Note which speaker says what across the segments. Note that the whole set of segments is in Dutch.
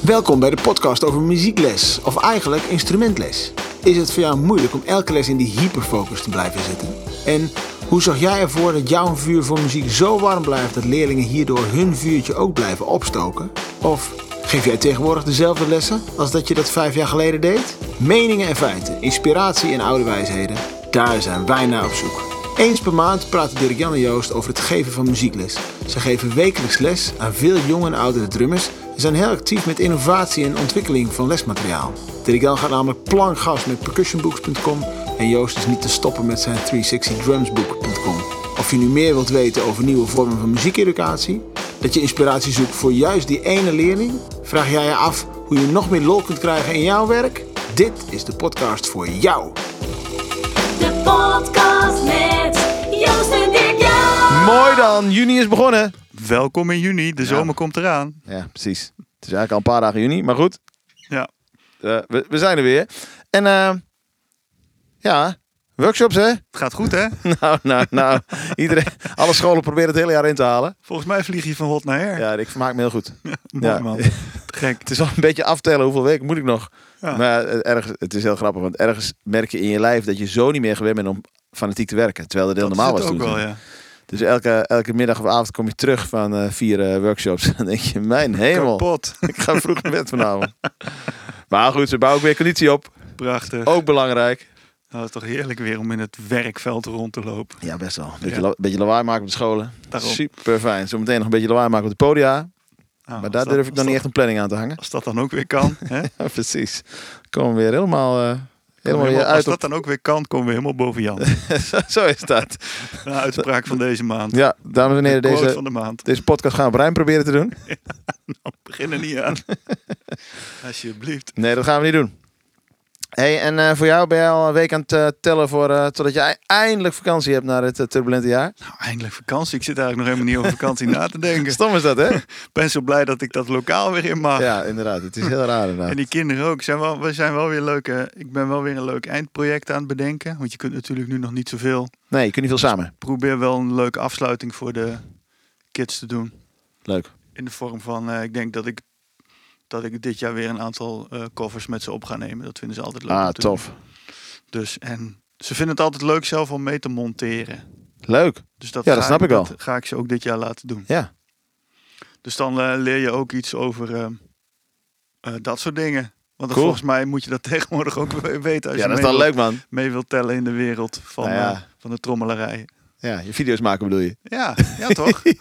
Speaker 1: Welkom bij de podcast over muziekles, of eigenlijk instrumentles. Is het voor jou moeilijk om elke les in die hyperfocus te blijven zitten? En hoe zorg jij ervoor dat jouw vuur voor muziek zo warm blijft dat leerlingen hierdoor hun vuurtje ook blijven opstoken? Of geef jij tegenwoordig dezelfde lessen als dat je dat vijf jaar geleden deed? Meningen en feiten, inspiratie en oude wijsheden, daar zijn wij naar op zoek. Eens per maand praten Dirk Jan en Joost over het geven van muziekles. Ze geven wekelijks les aan veel jonge en oudere drummers en zijn heel actief met innovatie en ontwikkeling van lesmateriaal. Dirk Jan gaat namelijk plankgas met percussionbooks.com en Joost is niet te stoppen met zijn 360drumsbook.com. Of je nu meer wilt weten over nieuwe vormen van muziekeducatie, dat je inspiratie zoekt voor juist die ene leerling, vraag jij je af hoe je nog meer lol kunt krijgen in jouw werk? Dit is de podcast voor jou.
Speaker 2: De podcast met Joost en Dirk Jan.
Speaker 3: Mooi dan, juni is begonnen.
Speaker 4: Welkom in juni, de zomer komt eraan.
Speaker 3: Ja, precies. Het is eigenlijk al een paar dagen juni, maar goed,
Speaker 4: Ja,
Speaker 3: eh, we, we zijn er weer. En eh, ja, workshops hè?
Speaker 4: het gaat goed hè?
Speaker 3: Nou, nou, nou, iedereen, alle scholen proberen het hele jaar in te halen.
Speaker 4: Volgens mij vlieg je van hot naar her.
Speaker 3: Ja, ik vermaak me heel goed.
Speaker 4: Mooi
Speaker 3: ja.
Speaker 4: man. Te Gek.
Speaker 3: Het is al een beetje aftellen hoeveel weken moet ik nog.
Speaker 4: Ja.
Speaker 3: Maar eh, ergens, het is heel grappig, want ergens merk je in je lijf dat je zo niet meer gewend bent om fanatiek te werken. Terwijl dat heel
Speaker 4: Dat
Speaker 3: normaal
Speaker 4: is
Speaker 3: was
Speaker 4: het
Speaker 3: toen.
Speaker 4: ook wel, ja.
Speaker 3: Dus elke, elke middag of avond kom je terug van eh, vier eh, workshops. Dan denk je, mijn hemel.
Speaker 4: Kapot.
Speaker 3: Ik ga vroeg naar bed vanavond. Maar goed, ze bouwen ook weer conditie op.
Speaker 4: Prachtig.
Speaker 3: Ook belangrijk.
Speaker 4: Nou, het is toch heerlijk weer om in het werkveld rond te lopen.
Speaker 3: Ja, best wel. Beetje,
Speaker 4: Ja.
Speaker 3: la- beetje lawaai maken op de scholen.
Speaker 4: Daarom.
Speaker 3: Super fijn. Zometeen nog een beetje lawaai maken op de podia.
Speaker 4: Nou,
Speaker 3: maar daar
Speaker 4: als dat-
Speaker 3: durf ik
Speaker 4: als
Speaker 3: dan niet
Speaker 4: dat-
Speaker 3: echt een planning aan te hangen.
Speaker 4: Als dat dan ook weer kan. Hè? Kom
Speaker 3: Ja, precies. Komen we weer helemaal, eh, Oh. helemaal weer
Speaker 4: helemaal- als
Speaker 3: uit
Speaker 4: dat
Speaker 3: op...
Speaker 4: dan ook weer kan, komen we helemaal boven Jan.
Speaker 3: Zo is dat.
Speaker 4: De uitspraak van deze maand.
Speaker 3: Ja, dames en heren,
Speaker 4: De quote
Speaker 3: deze,
Speaker 4: van de maand. Nou,
Speaker 3: deze podcast gaan we op rijm proberen te doen.
Speaker 4: Begin er niet aan. Alsjeblieft.
Speaker 3: Nee, dat gaan we niet doen. hey, en eh, voor jou ben je al een week aan het eh, tellen voor, eh, totdat je e- eindelijk vakantie hebt na dit eh, turbulente jaar.
Speaker 4: Nou, eindelijk vakantie. Ik zit eigenlijk nog helemaal niet over vakantie na te denken.
Speaker 3: Stom is dat, hè?
Speaker 4: Ik ben zo blij dat ik dat lokaal weer in mag.
Speaker 3: Ja, inderdaad. Het is heel raar inderdaad.
Speaker 4: En die kinderen ook. Zijn wel, we zijn wel weer leuke. Ik ben wel weer een leuk eindproject aan het bedenken. Want je kunt natuurlijk nu nog niet zoveel.
Speaker 3: Nee, je kunt niet
Speaker 4: Dus
Speaker 3: veel samen.
Speaker 4: Probeer wel een leuke afsluiting voor de kids te doen.
Speaker 3: Leuk.
Speaker 4: In de vorm van, eh, ik denk dat ik, dat ik dit jaar weer een aantal eh, covers met ze op ga nemen. Dat vinden ze altijd leuk. om
Speaker 3: Ah,
Speaker 4: te doen.
Speaker 3: tof.
Speaker 4: Dus, en ze vinden het altijd leuk zelf om mee te monteren.
Speaker 3: Leuk.
Speaker 4: Dus dat,
Speaker 3: Ja, dat
Speaker 4: ga
Speaker 3: snap ik wel.
Speaker 4: Dat ga ik ze ook dit jaar laten doen.
Speaker 3: Ja.
Speaker 4: Dus dan eh, leer je ook iets over eh, eh, dat soort dingen. Want
Speaker 3: Cool.
Speaker 4: volgens mij moet je dat tegenwoordig ook weten. Als
Speaker 3: Ja, dat is
Speaker 4: je mee
Speaker 3: dan
Speaker 4: wilt-
Speaker 3: leuk, man.
Speaker 4: mee wil tellen in de wereld van,
Speaker 3: Nou ja.
Speaker 4: eh, van de trommelarij.
Speaker 3: Ja, je video's maken bedoel je.
Speaker 4: Ja, ja toch? Hoe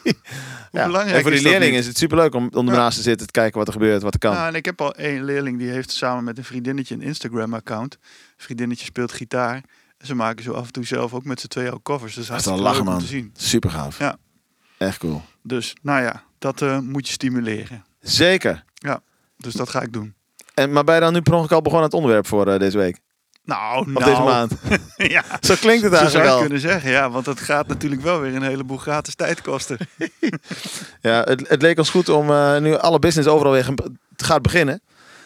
Speaker 3: ja.
Speaker 4: belangrijk
Speaker 3: en voor die
Speaker 4: is dat
Speaker 3: leerlingen
Speaker 4: niet?
Speaker 3: is het superleuk om onder
Speaker 4: Ja.
Speaker 3: naast te zitten, te kijken wat er gebeurt, wat er kan.
Speaker 4: Nou, en ik heb al één leerling die heeft samen met een vriendinnetje een Instagram-account. Vriendinnetje speelt gitaar. En ze maken zo af en toe zelf ook met z'n tweeën ook covers. Dus
Speaker 3: dat is wel
Speaker 4: hartstikke
Speaker 3: lachen,
Speaker 4: leuk om
Speaker 3: man.
Speaker 4: te zien.
Speaker 3: Super gaaf.
Speaker 4: Ja.
Speaker 3: Echt cool.
Speaker 4: Dus nou ja, dat eh, moet je stimuleren.
Speaker 3: Zeker.
Speaker 4: Dus dat ga ik doen.
Speaker 3: En, maar ben je dan nu per ongeluk al begonnen aan het onderwerp voor eh, deze week?
Speaker 4: Nou,
Speaker 3: Of
Speaker 4: nou.
Speaker 3: deze maand?
Speaker 4: ja,
Speaker 3: Zo klinkt het
Speaker 4: zo zou
Speaker 3: eigenlijk
Speaker 4: je
Speaker 3: al.
Speaker 4: kunnen zeggen. Ja, want dat gaat natuurlijk wel weer een heleboel gratis tijd kosten.
Speaker 3: Ja, het, het leek ons goed om eh, nu alle business overal weer gem- gaat beginnen.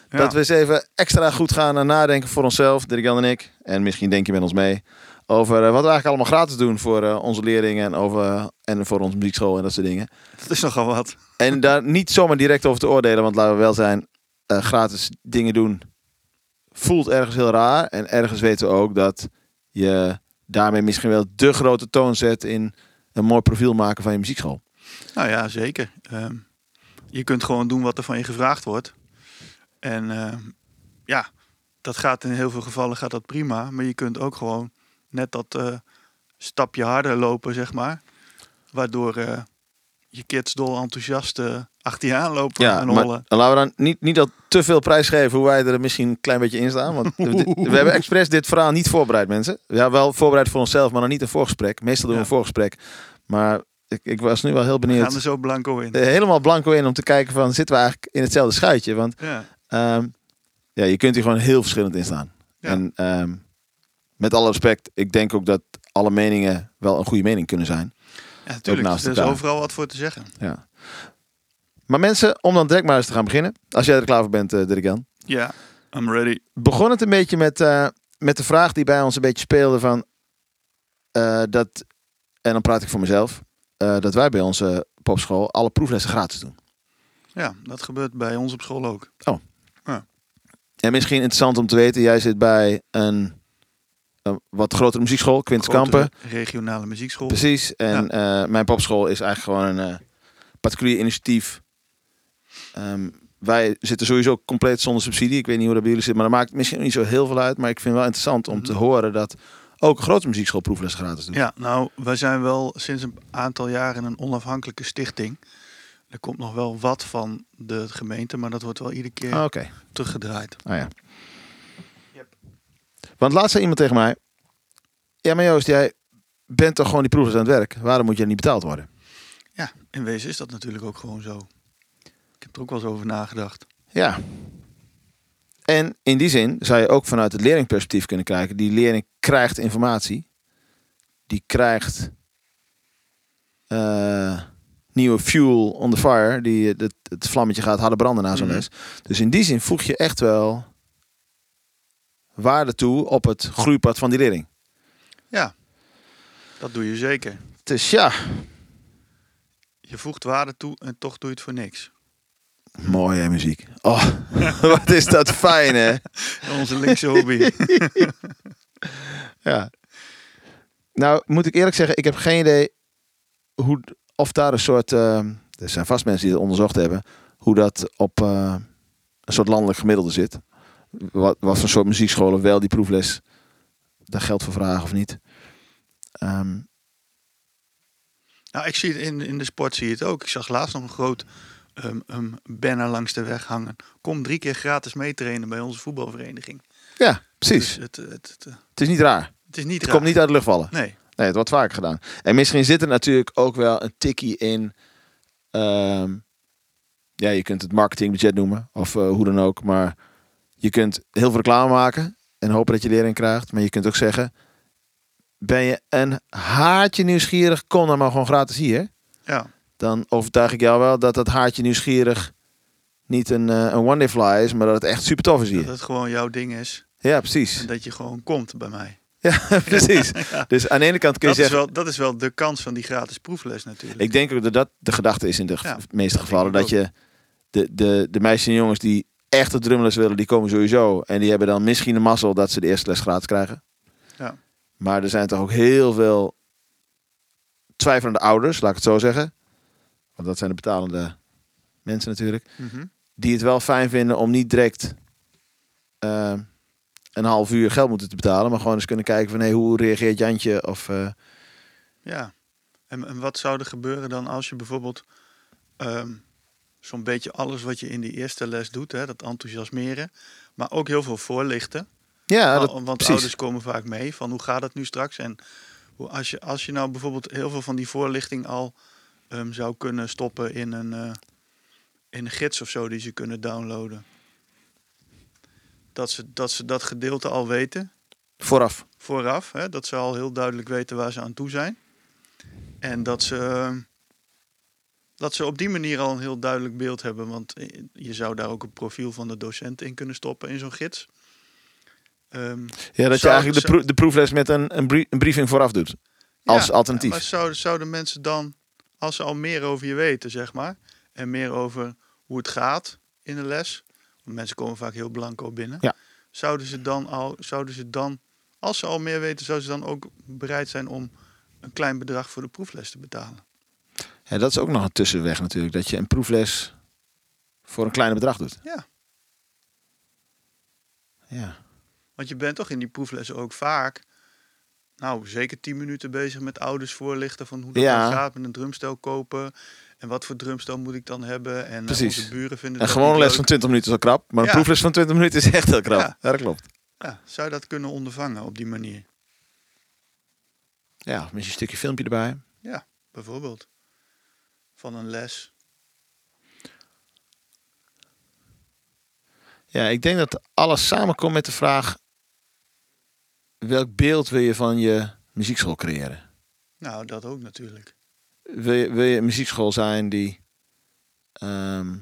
Speaker 4: Ja.
Speaker 3: Dat we eens even extra goed gaan eh, nadenken voor onszelf, Dirk Jan en ik. En misschien denk je met ons mee. Over eh, wat we eigenlijk allemaal gratis doen voor eh, onze leerlingen en, over, eh, en voor onze muziekschool en dat soort dingen.
Speaker 4: Dat is nogal wat.
Speaker 3: En daar niet zomaar direct over te oordelen, want laten we wel zijn, eh, gratis dingen doen voelt ergens heel raar. En ergens weten we ook dat je daarmee misschien wel de grote toon zet in een mooi profiel maken van je muziekschool.
Speaker 4: Nou ja, zeker. Ehm, je kunt gewoon doen wat er van je gevraagd wordt. En ehm, ja, dat gaat in heel veel gevallen gaat dat prima. Maar je kunt ook gewoon net dat eh, stapje harder lopen, zeg maar. Waardoor eh, je kids dol enthousiast eh, achter je aanlopen en
Speaker 3: maar
Speaker 4: hollen.
Speaker 3: laten we dan niet, niet al te veel prijs geven hoe wij er misschien een klein beetje in staan. Want we, we hebben expres dit verhaal niet voorbereid, mensen. We hebben wel voorbereid voor onszelf, maar dan niet een voorgesprek. Meestal doen we
Speaker 4: Ja.
Speaker 3: een voorgesprek. Maar ik, ik was nu wel heel
Speaker 4: We gaan dus-
Speaker 3: benieuwd.
Speaker 4: er zo blanco in.
Speaker 3: eh, Helemaal blanco in om te kijken van zitten we eigenlijk in hetzelfde schuitje. Want
Speaker 4: Ja,
Speaker 3: Ehm, ja, je kunt hier gewoon heel verschillend in staan.
Speaker 4: Ja.
Speaker 3: En ehm, met alle respect, ik denk ook dat alle meningen wel een goede mening kunnen zijn.
Speaker 4: ja natuurlijk.
Speaker 3: naast
Speaker 4: er is
Speaker 3: elkaar.
Speaker 4: overal wat voor te zeggen.
Speaker 3: Ja. Maar mensen, om dan direct maar eens te gaan beginnen. Als jij er klaar voor bent, eh Dirk-Jan.
Speaker 4: Ja, I'm ready.
Speaker 3: Begon het een beetje met, eh, met de vraag die bij ons een beetje speelde van... eh, dat, en dan praat ik voor mezelf. eh, dat wij bij onze popschool alle proeflessen gratis doen. Oh.
Speaker 4: Ja, dat gebeurt bij ons op school ook.
Speaker 3: En misschien interessant om te weten, jij zit bij een, een wat grotere muziekschool, Quint
Speaker 4: Grote
Speaker 3: Kampen.
Speaker 4: Regionale muziekschool.
Speaker 3: Precies. En eh, mijn popschool is eigenlijk gewoon een eh, particulier initiatief. Ehm, wij zitten sowieso compleet zonder subsidie. Ik weet niet hoe dat bij jullie zit, maar dat maakt misschien niet zo heel veel uit. Maar ik vind het wel interessant om te horen dat ook een grote muziekschool proefles gratis doet.
Speaker 4: Ja, nou, wij zijn wel sinds een aantal jaren een onafhankelijke stichting. Er komt nog wel wat van de gemeente, maar dat wordt wel iedere keer
Speaker 3: Ah, Oké.
Speaker 4: teruggedraaid.
Speaker 3: Ah ja. Want laatst zei iemand tegen mij: Ja, maar Joost, jij bent toch gewoon die proefles aan het werk? Waarom moet jij niet betaald worden?
Speaker 4: Ja, in wezen is dat natuurlijk ook gewoon zo. Ik heb er ook wel eens over nagedacht.
Speaker 3: Ja. En in die zin zou je ook vanuit het leerlingperspectief kunnen kijken. Die leerling krijgt informatie. Die krijgt eh, nieuwe fuel on the fire. Die het, het- het vlammetje gaat harder branden na zo'n
Speaker 4: Mhm.
Speaker 3: les. Dus in die zin voeg je echt wel waarde toe op het groeipad van die leerling.
Speaker 4: Ja, dat doe je zeker.
Speaker 3: Dus ja,
Speaker 4: Je voegt waarde toe en toch doe je het voor niks.
Speaker 3: mooie muziek. Oh, wat is dat fijn hè?
Speaker 4: Onze linkse hobby.
Speaker 3: Ja. Nou, moet ik eerlijk zeggen, ik heb geen idee hoe, of daar een soort. eh, er zijn vast mensen die het onderzocht hebben. Hoe dat op eh, een soort landelijk gemiddelde zit. Wat, wat voor soort muziekscholen wel die proefles daar geld voor vragen of niet. Ehm,
Speaker 4: nou, ik zie het in, in de sport zie je het ook. Ik zag laatst nog een groot ehm ehm, banner langs de weg hangen. Kom drie keer gratis meetrainen bij onze voetbalvereniging.
Speaker 3: ja, precies.
Speaker 4: Dus het, het, het,
Speaker 3: Het is niet raar.
Speaker 4: het is niet
Speaker 3: Het
Speaker 4: raar.
Speaker 3: komt niet uit de lucht vallen.
Speaker 4: Nee,
Speaker 3: Nee, het wordt vaker gedaan. En misschien zit er natuurlijk ook wel een tikkie in. ehm, ja, je kunt het marketingbudget noemen of eh, hoe dan ook. Maar je kunt heel veel reclame maken en hopen dat je leerling krijgt. Maar je kunt ook zeggen: ben je een haartje nieuwsgierig? Kom dan maar gewoon gratis hier.
Speaker 4: ja.
Speaker 3: Dan overtuig ik jou wel dat dat haartje nieuwsgierig niet een, eh, een one-day fly is, maar dat het echt super tof is
Speaker 4: Dat
Speaker 3: hier.
Speaker 4: het gewoon jouw ding is.
Speaker 3: Ja,
Speaker 4: En
Speaker 3: precies.
Speaker 4: dat je gewoon komt bij mij.
Speaker 3: Ja, precies. Dus aan de ene kant kun je
Speaker 4: Dat is,
Speaker 3: zeggen.
Speaker 4: wel, dat is wel de kans van die gratis proefles natuurlijk.
Speaker 3: Ik denk ook dat dat de gedachte is in de ge-
Speaker 4: Ja,
Speaker 3: meeste
Speaker 4: dat
Speaker 3: gevallen.
Speaker 4: denk
Speaker 3: Dat
Speaker 4: ik
Speaker 3: je de, de, de meisjes en jongens die echt de drumles willen, die komen sowieso. En die hebben dan misschien de mazzel dat ze de eerste les gratis krijgen.
Speaker 4: Ja.
Speaker 3: Maar er zijn toch ook heel veel twijfelende ouders, laat ik het zo zeggen. Want dat zijn de betalende mensen natuurlijk.
Speaker 4: Mhm.
Speaker 3: Die het wel fijn vinden om niet direct eh, een half uur geld moeten te betalen. Maar gewoon eens kunnen kijken van hey, hoe reageert Jantje of... eh,
Speaker 4: Ja. En, en wat zou er gebeuren dan als je bijvoorbeeld ehm, zo'n beetje alles wat je in die eerste les doet, hè, dat enthousiasmeren, maar ook heel veel voorlichten.
Speaker 3: ja, dat,
Speaker 4: want
Speaker 3: precies.
Speaker 4: ouders komen vaak mee van hoe gaat het nu straks? En hoe, als, je, als je nou bijvoorbeeld heel veel van die voorlichting al ehm, zou kunnen stoppen in een, eh, in een gids of zo die ze kunnen downloaden. Dat ze dat, ze dat gedeelte al weten
Speaker 3: Vooraf.
Speaker 4: vooraf. Hè, dat ze al heel duidelijk weten waar ze aan toe zijn. En dat ze, eh, dat ze op die manier al een heel duidelijk beeld hebben. Want eh, je zou daar ook een profiel van de docent in kunnen stoppen in zo'n gids. Ehm,
Speaker 3: Ja, dat
Speaker 4: Zou-
Speaker 3: je eigenlijk de,
Speaker 4: zou-
Speaker 3: proe- de proefles met een, een, brie- een briefing vooraf doet. Als
Speaker 4: ja,
Speaker 3: alternatief.
Speaker 4: Maar zouden, zouden mensen dan, als ze al meer over je weten, zeg maar. En meer over hoe het gaat in de les. Want mensen komen vaak heel blanco binnen.
Speaker 3: Ja.
Speaker 4: Zouden ze dan al, zouden ze dan, als ze al meer weten, zouden ze dan ook bereid zijn om een klein bedrag voor de proefles te betalen?
Speaker 3: Ja, dat is ook nog een tussenweg natuurlijk. Dat je een proefles voor een kleine bedrag doet.
Speaker 4: Ja.
Speaker 3: Ja.
Speaker 4: Want je bent toch in die proeflessen ook vaak, nou zeker 10 minuten bezig met ouders voorlichten van hoe dat
Speaker 3: Ja.
Speaker 4: dan gaat met een drumstel kopen. En wat voor drumstel moet ik dan hebben? En eh,
Speaker 3: Precies.
Speaker 4: onze buren vinden
Speaker 3: Een
Speaker 4: dat
Speaker 3: gewone
Speaker 4: niet
Speaker 3: les
Speaker 4: leuk.
Speaker 3: van 20 minuten is al krap. Maar een
Speaker 4: Ja.
Speaker 3: proefles van 20 minuten is echt heel krap.
Speaker 4: Ja.
Speaker 3: Ja, dat klopt.
Speaker 4: Ja, zou je dat kunnen ondervangen op die manier?
Speaker 3: Ja, of misschien een stukje filmpje erbij.
Speaker 4: Ja, bijvoorbeeld. Van een les.
Speaker 3: Ja, ik denk dat alles samenkomt met de vraag... Welk beeld wil je van je muziekschool creëren?
Speaker 4: Nou, dat ook natuurlijk.
Speaker 3: Wil je, wil je een muziekschool zijn die... ehm,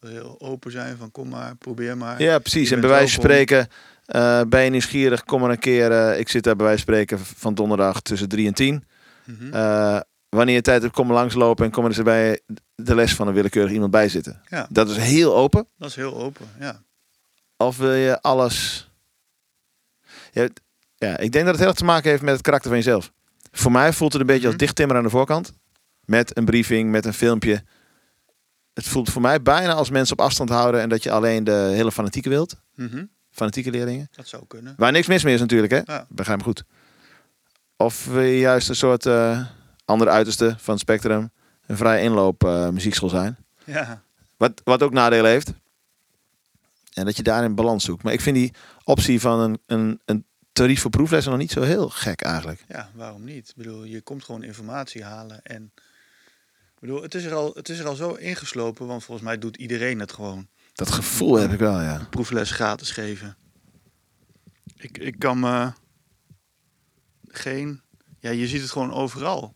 Speaker 4: Heel open zijn van kom maar, probeer maar.
Speaker 3: Ja, precies.
Speaker 4: Je
Speaker 3: En bij
Speaker 4: bent
Speaker 3: wijze van
Speaker 4: welkom.
Speaker 3: spreken, eh, ben je nieuwsgierig, kom maar een keer. eh, ik zit daar bij wijze van spreken van donderdag tussen 3 en 10.
Speaker 4: Mhm.
Speaker 3: Eh, wanneer je tijd hebt, kom maar langslopen en kom er eens bij de les van een willekeurig iemand bij zitten.
Speaker 4: Ja.
Speaker 3: Dat is heel open.
Speaker 4: Dat is heel open, ja.
Speaker 3: Of wil je alles... Ja, het- ja, ik denk dat het heel erg te maken heeft met het karakter van jezelf. Voor mij voelt het een beetje als
Speaker 4: Mhm.
Speaker 3: dichttimmer aan de voorkant. Met een briefing, met een filmpje. Het voelt voor mij bijna als mensen op afstand houden en dat je alleen de hele fanatieke wilt.
Speaker 4: Mhm.
Speaker 3: Fanatieke leerlingen.
Speaker 4: Dat zou kunnen.
Speaker 3: Waar niks mis mee is natuurlijk, hè?
Speaker 4: Ja.
Speaker 3: Begrijp me goed. Of we juist een soort eh, andere uiterste van het spectrum. Een vrij inloop eh, muziekschool zijn.
Speaker 4: Ja,
Speaker 3: Wat, wat ook nadelen heeft. En dat je daarin balans zoekt. Maar ik vind die optie van een, een, een tarief voor proeflessen nog niet zo heel gek eigenlijk.
Speaker 4: ja, waarom niet? Ik bedoel, je komt gewoon informatie halen en... Ik bedoel, het is, er al, het is er al zo ingeslopen, want volgens mij doet iedereen het gewoon.
Speaker 3: Dat gevoel heb ik wel, ja.
Speaker 4: proefles gratis geven. Ik, ik kan me geen. Ja, je ziet het gewoon overal.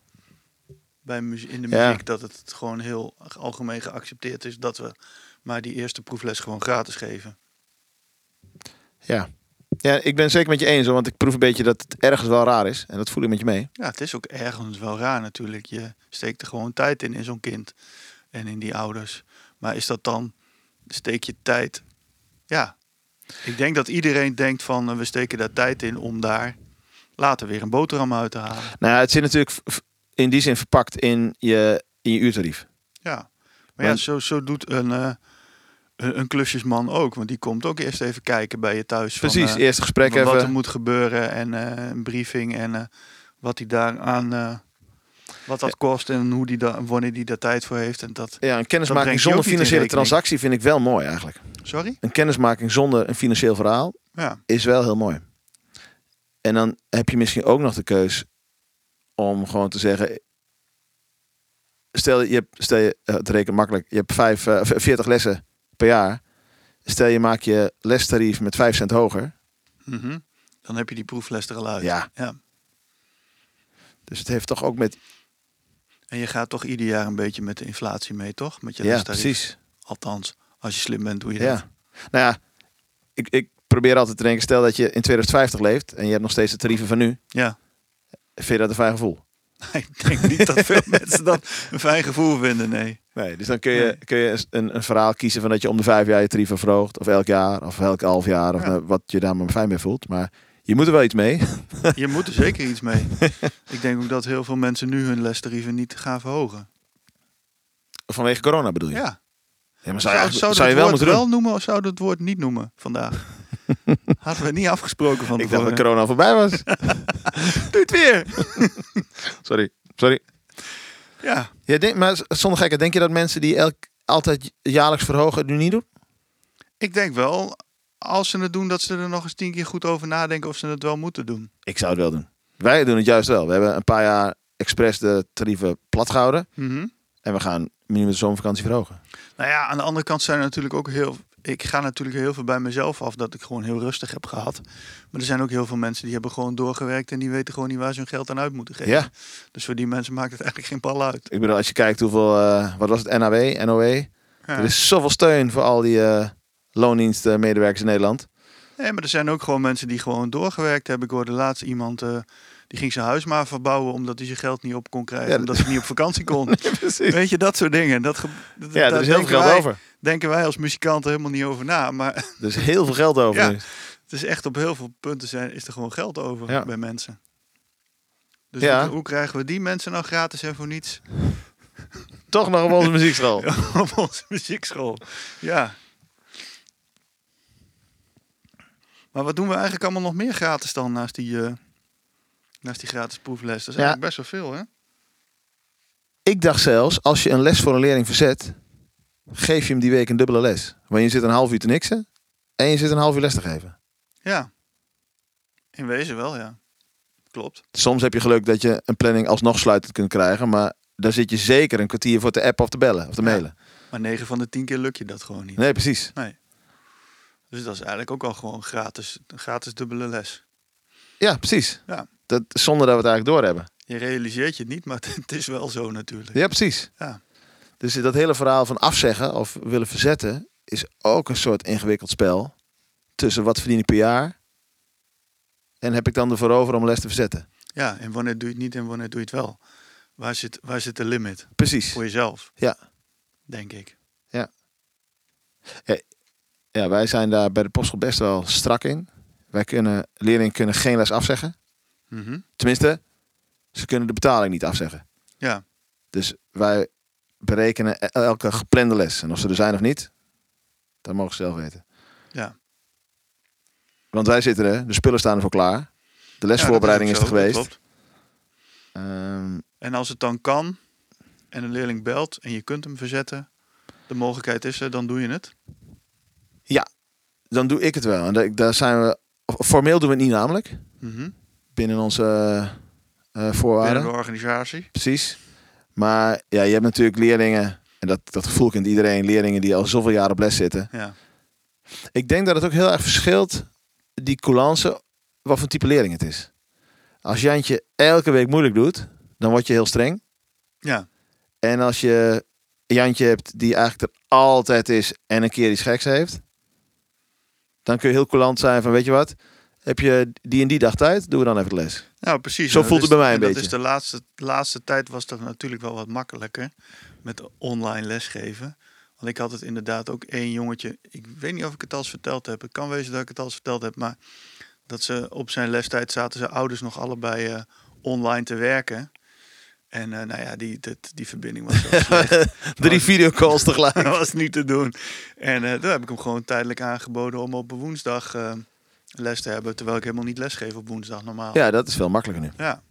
Speaker 4: Bij muzie- in de
Speaker 3: Ja.
Speaker 4: muziek dat het gewoon heel algemeen geaccepteerd is dat we maar die eerste proefles gewoon gratis geven.
Speaker 3: Ja, ja ik ben het zeker met je eens. hoor, Want ik proef een beetje dat het ergens wel raar is. En dat voel ik met je mee.
Speaker 4: Ja, het is ook ergens wel raar natuurlijk. Je steekt er gewoon tijd in in zo'n kind en in die ouders. Maar is dat dan steek je tijd? Ja. Ik denk dat iedereen denkt van eh, we steken daar tijd in om daar later weer een boterham uit te halen.
Speaker 3: Nou ja, het zit natuurlijk v- v- in die zin verpakt in je, in je uurtarief.
Speaker 4: Ja, maar ja,
Speaker 3: Want-
Speaker 4: zo, zo doet een, eh, een, een klusjesman ook. Want die komt ook eerst even kijken bij je thuis. van,
Speaker 3: Precies,
Speaker 4: eh,
Speaker 3: eerst gesprek
Speaker 4: van Wat er
Speaker 3: even.
Speaker 4: moet gebeuren en eh, een briefing en eh, wat hij daar aan... eh, wat dat kost en hoe die da- wanneer die daar tijd voor heeft. En dat,
Speaker 3: Ja, een
Speaker 4: Dat breng
Speaker 3: kennismaking
Speaker 4: je
Speaker 3: zonder
Speaker 4: ook niet in
Speaker 3: financiële
Speaker 4: rekening.
Speaker 3: transactie vind ik wel mooi eigenlijk.
Speaker 4: sorry?
Speaker 3: Een kennismaking zonder een financieel verhaal
Speaker 4: Ja,
Speaker 3: is wel heel mooi. En dan heb je misschien ook nog de keus om gewoon te zeggen... Stel je, hebt, stel je eh, het rekent makkelijk, je hebt vijf, eh, v- 40 lessen per jaar. Stel je maakt je lestarief met 5 cent hoger.
Speaker 4: mhm. dan heb je die proefles er al uit.
Speaker 3: Ja. Dus het heeft toch ook met...
Speaker 4: En je gaat toch ieder jaar een beetje met de inflatie mee, toch? Met je
Speaker 3: ja,
Speaker 4: resttarief.
Speaker 3: precies.
Speaker 4: Althans, als je slim bent doe je dat.
Speaker 3: Ja. Nou ja, ik, ik probeer altijd te denken, stel dat je in 2050 leeft en je hebt nog steeds de tarieven van nu.
Speaker 4: Ja.
Speaker 3: Vind je dat een fijn gevoel?
Speaker 4: Ik denk niet dat veel mensen dat een fijn gevoel vinden, nee.
Speaker 3: Nee, dus dan kun je,
Speaker 4: Nee.
Speaker 3: kun je een, een verhaal kiezen van dat je om de vijf jaar je tarieven verhoogt. Of elk jaar, of elk half jaar, of
Speaker 4: Ja.
Speaker 3: nou, wat je daar maar fijn mee voelt. Maar je moet er wel iets mee.
Speaker 4: Je moet er zeker iets mee. Ik denk ook dat heel veel mensen nu hun lestarieven niet gaan verhogen.
Speaker 3: Vanwege corona bedoel je?
Speaker 4: Ja.
Speaker 3: Ja, maar zou je,
Speaker 4: Zou,
Speaker 3: eigenlijk- zou
Speaker 4: zouden we
Speaker 3: je wel
Speaker 4: het woord
Speaker 3: moeten
Speaker 4: wel
Speaker 3: doen?
Speaker 4: noemen of zouden we het woord niet noemen vandaag? Hadden we niet afgesproken van
Speaker 3: Ik dacht
Speaker 4: tevoren.
Speaker 3: dat corona al voorbij was.
Speaker 4: Doe het weer!
Speaker 3: Sorry, sorry.
Speaker 4: Ja.
Speaker 3: Ja, denk, maar z- zonder gekke, denk je dat mensen die elk, altijd jaarlijks verhogen het nu niet doen?
Speaker 4: Ik denk wel, als ze het doen, dat ze er nog eens tien keer goed over nadenken of ze het wel moeten doen.
Speaker 3: Ik zou het wel doen. Wij doen het juist wel. We hebben een paar jaar expres de tarieven plat gehouden.
Speaker 4: Mhm.
Speaker 3: En we gaan minimum de zomervakantie verhogen.
Speaker 4: Nou ja, aan de andere kant zijn er natuurlijk ook heel. Ik ga natuurlijk heel veel bij mezelf af dat ik gewoon heel rustig heb gehad. Maar er zijn ook heel veel mensen die hebben gewoon doorgewerkt en die weten gewoon niet waar ze hun geld aan uit moeten geven.
Speaker 3: Ja,
Speaker 4: Dus voor die mensen maakt het eigenlijk geen bal uit.
Speaker 3: ik bedoel, als je kijkt hoeveel, eh, wat was het, NAW, NOE.
Speaker 4: Ja.
Speaker 3: Er is zoveel steun voor al die eh loondienstmedewerkers in Nederland.
Speaker 4: Nee, maar er zijn ook gewoon mensen die gewoon doorgewerkt hebben. Ik hoorde laatst iemand eh, die ging zijn huis maar verbouwen omdat hij zijn geld niet op kon krijgen.
Speaker 3: Ja,
Speaker 4: omdat hij niet op vakantie kon.
Speaker 3: Precies.
Speaker 4: Weet je, dat soort dingen. Dat ge- dat-
Speaker 3: Ja, er
Speaker 4: daar
Speaker 3: is heel veel
Speaker 4: denken
Speaker 3: geld
Speaker 4: wij-
Speaker 3: over.
Speaker 4: Denken wij als muzikanten helemaal niet over na. Maar
Speaker 3: Er is heel veel geld over.
Speaker 4: Ja.
Speaker 3: nu.
Speaker 4: het is echt op heel veel punten zijn, is er gewoon geld over
Speaker 3: Ja.
Speaker 4: bij mensen. Dus
Speaker 3: Ja.
Speaker 4: hoe, hoe krijgen we die mensen nou gratis en voor niets
Speaker 3: Toch nog op onze muziekschool.
Speaker 4: op onze muziekschool? Ja. Maar wat doen we eigenlijk allemaal nog meer gratis dan naast die, eh, naast die gratis proefles? Dat is
Speaker 3: Ja.
Speaker 4: eigenlijk best wel veel, hè?
Speaker 3: Ik dacht zelfs, als je een les voor een leerling verzet, geef je hem die week een dubbele les. Want je zit een half uur te niksen en je zit een half uur les te geven.
Speaker 4: Ja. In wezen wel, ja. Klopt.
Speaker 3: Soms heb je geluk dat je een planning alsnog sluitend kunt krijgen, maar daar zit je zeker een kwartier voor te appen of te bellen of te
Speaker 4: Ja.
Speaker 3: mailen.
Speaker 4: Maar 9 van de 10 keer lukt je dat gewoon niet.
Speaker 3: Nee, precies.
Speaker 4: Dus dat is eigenlijk ook al gewoon gratis, een gratis dubbele les.
Speaker 3: Ja, precies.
Speaker 4: Ja.
Speaker 3: Dat, zonder dat we het eigenlijk doorhebben.
Speaker 4: Je realiseert je het niet, maar het is wel zo natuurlijk.
Speaker 3: Ja, precies.
Speaker 4: Ja.
Speaker 3: Dus dat hele verhaal van afzeggen of willen verzetten is ook een soort ingewikkeld spel. Tussen wat verdien ik per jaar en heb ik dan ervoor over om les te verzetten.
Speaker 4: Ja, en wanneer doe je het niet en wanneer doe je het wel? Waar zit, waar zit de limit?
Speaker 3: Precies.
Speaker 4: Voor jezelf,
Speaker 3: Ja.
Speaker 4: denk ik.
Speaker 3: ja, wij zijn daar bij de postschool best wel strak in. Wij kunnen, leerlingen kunnen geen les afzeggen.
Speaker 4: Mhm.
Speaker 3: Tenminste, ze kunnen de betaling niet afzeggen.
Speaker 4: Ja.
Speaker 3: Dus wij berekenen el- elke geplande les. En of ze er zijn of niet, dat mogen ze zelf weten.
Speaker 4: Ja.
Speaker 3: Want wij zitten er, de spullen staan ervoor klaar. De
Speaker 4: Ja,
Speaker 3: lesvoorbereiding
Speaker 4: dat
Speaker 3: is er
Speaker 4: ook zo, dat
Speaker 3: geweest.
Speaker 4: klopt.
Speaker 3: Ehm,
Speaker 4: En als het dan kan en een leerling belt en je kunt hem verzetten, de mogelijkheid is er, dan doe je het.
Speaker 3: dan doe ik het wel. En da- daar zijn we, formeel doen we het niet namelijk.
Speaker 4: Mhm.
Speaker 3: Binnen onze eh, eh, voorwaarden.
Speaker 4: Binnen de organisatie.
Speaker 3: Precies. Maar ja, je hebt natuurlijk leerlingen, en dat, dat gevoel kent iedereen, leerlingen die al zoveel jaren op les zitten.
Speaker 4: Ja.
Speaker 3: Ik denk dat het ook heel erg verschilt, die coulance, wat voor type leerling het is. Als Jantje elke week moeilijk doet, dan word je heel streng.
Speaker 4: Ja.
Speaker 3: En als je Jantje hebt die eigenlijk er altijd is en een keer iets geks heeft, dan kun je heel coulant zijn van, weet je wat, heb je die en die dag tijd, doen we dan even de les.
Speaker 4: Nou, precies.
Speaker 3: Zo
Speaker 4: En dat
Speaker 3: voelt het
Speaker 4: is-
Speaker 3: bij mij een
Speaker 4: en
Speaker 3: beetje.
Speaker 4: Dat is de laatste, de laatste tijd was dat natuurlijk wel wat makkelijker met online lesgeven. Want ik had het inderdaad ook één jongetje. Ik weet niet of ik het al eens verteld heb. Het kan wezen dat ik het al eens verteld heb. Maar dat ze op zijn lestijd zaten zijn ouders nog allebei eh, online te werken. En eh, nou ja, die, dat, die verbinding was zo slecht.
Speaker 3: Drie videocalls tegelijk.
Speaker 4: dat was niet te doen. En eh toen heb ik hem gewoon tijdelijk aangeboden om op woensdag eh, les te hebben. Terwijl ik helemaal niet lesgeef op woensdag normaal.
Speaker 3: Ja, dat is veel makkelijker nu.
Speaker 4: ja.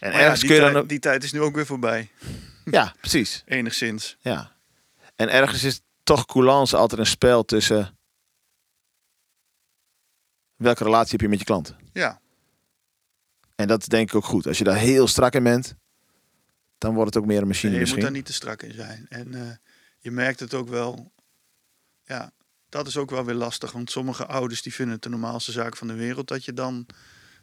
Speaker 3: En
Speaker 4: Maar ja,
Speaker 3: ergens
Speaker 4: die,
Speaker 3: kun je
Speaker 4: tijd,
Speaker 3: dan ook...
Speaker 4: die tijd is nu ook weer voorbij.
Speaker 3: Ja, precies.
Speaker 4: Enigszins.
Speaker 3: Ja. En ergens is toch coulance altijd een spel tussen... Welke relatie heb je met je klant?
Speaker 4: Ja,
Speaker 3: En dat is denk ik ook goed. Als je daar heel strak in bent, dan wordt het ook meer een
Speaker 4: Nee,
Speaker 3: machine
Speaker 4: je moet daar
Speaker 3: misschien.
Speaker 4: niet te strak in zijn. En eh, je merkt het ook wel. Ja, dat is ook wel weer lastig. Want sommige ouders die vinden het de normaalste zaak van de wereld dat je dan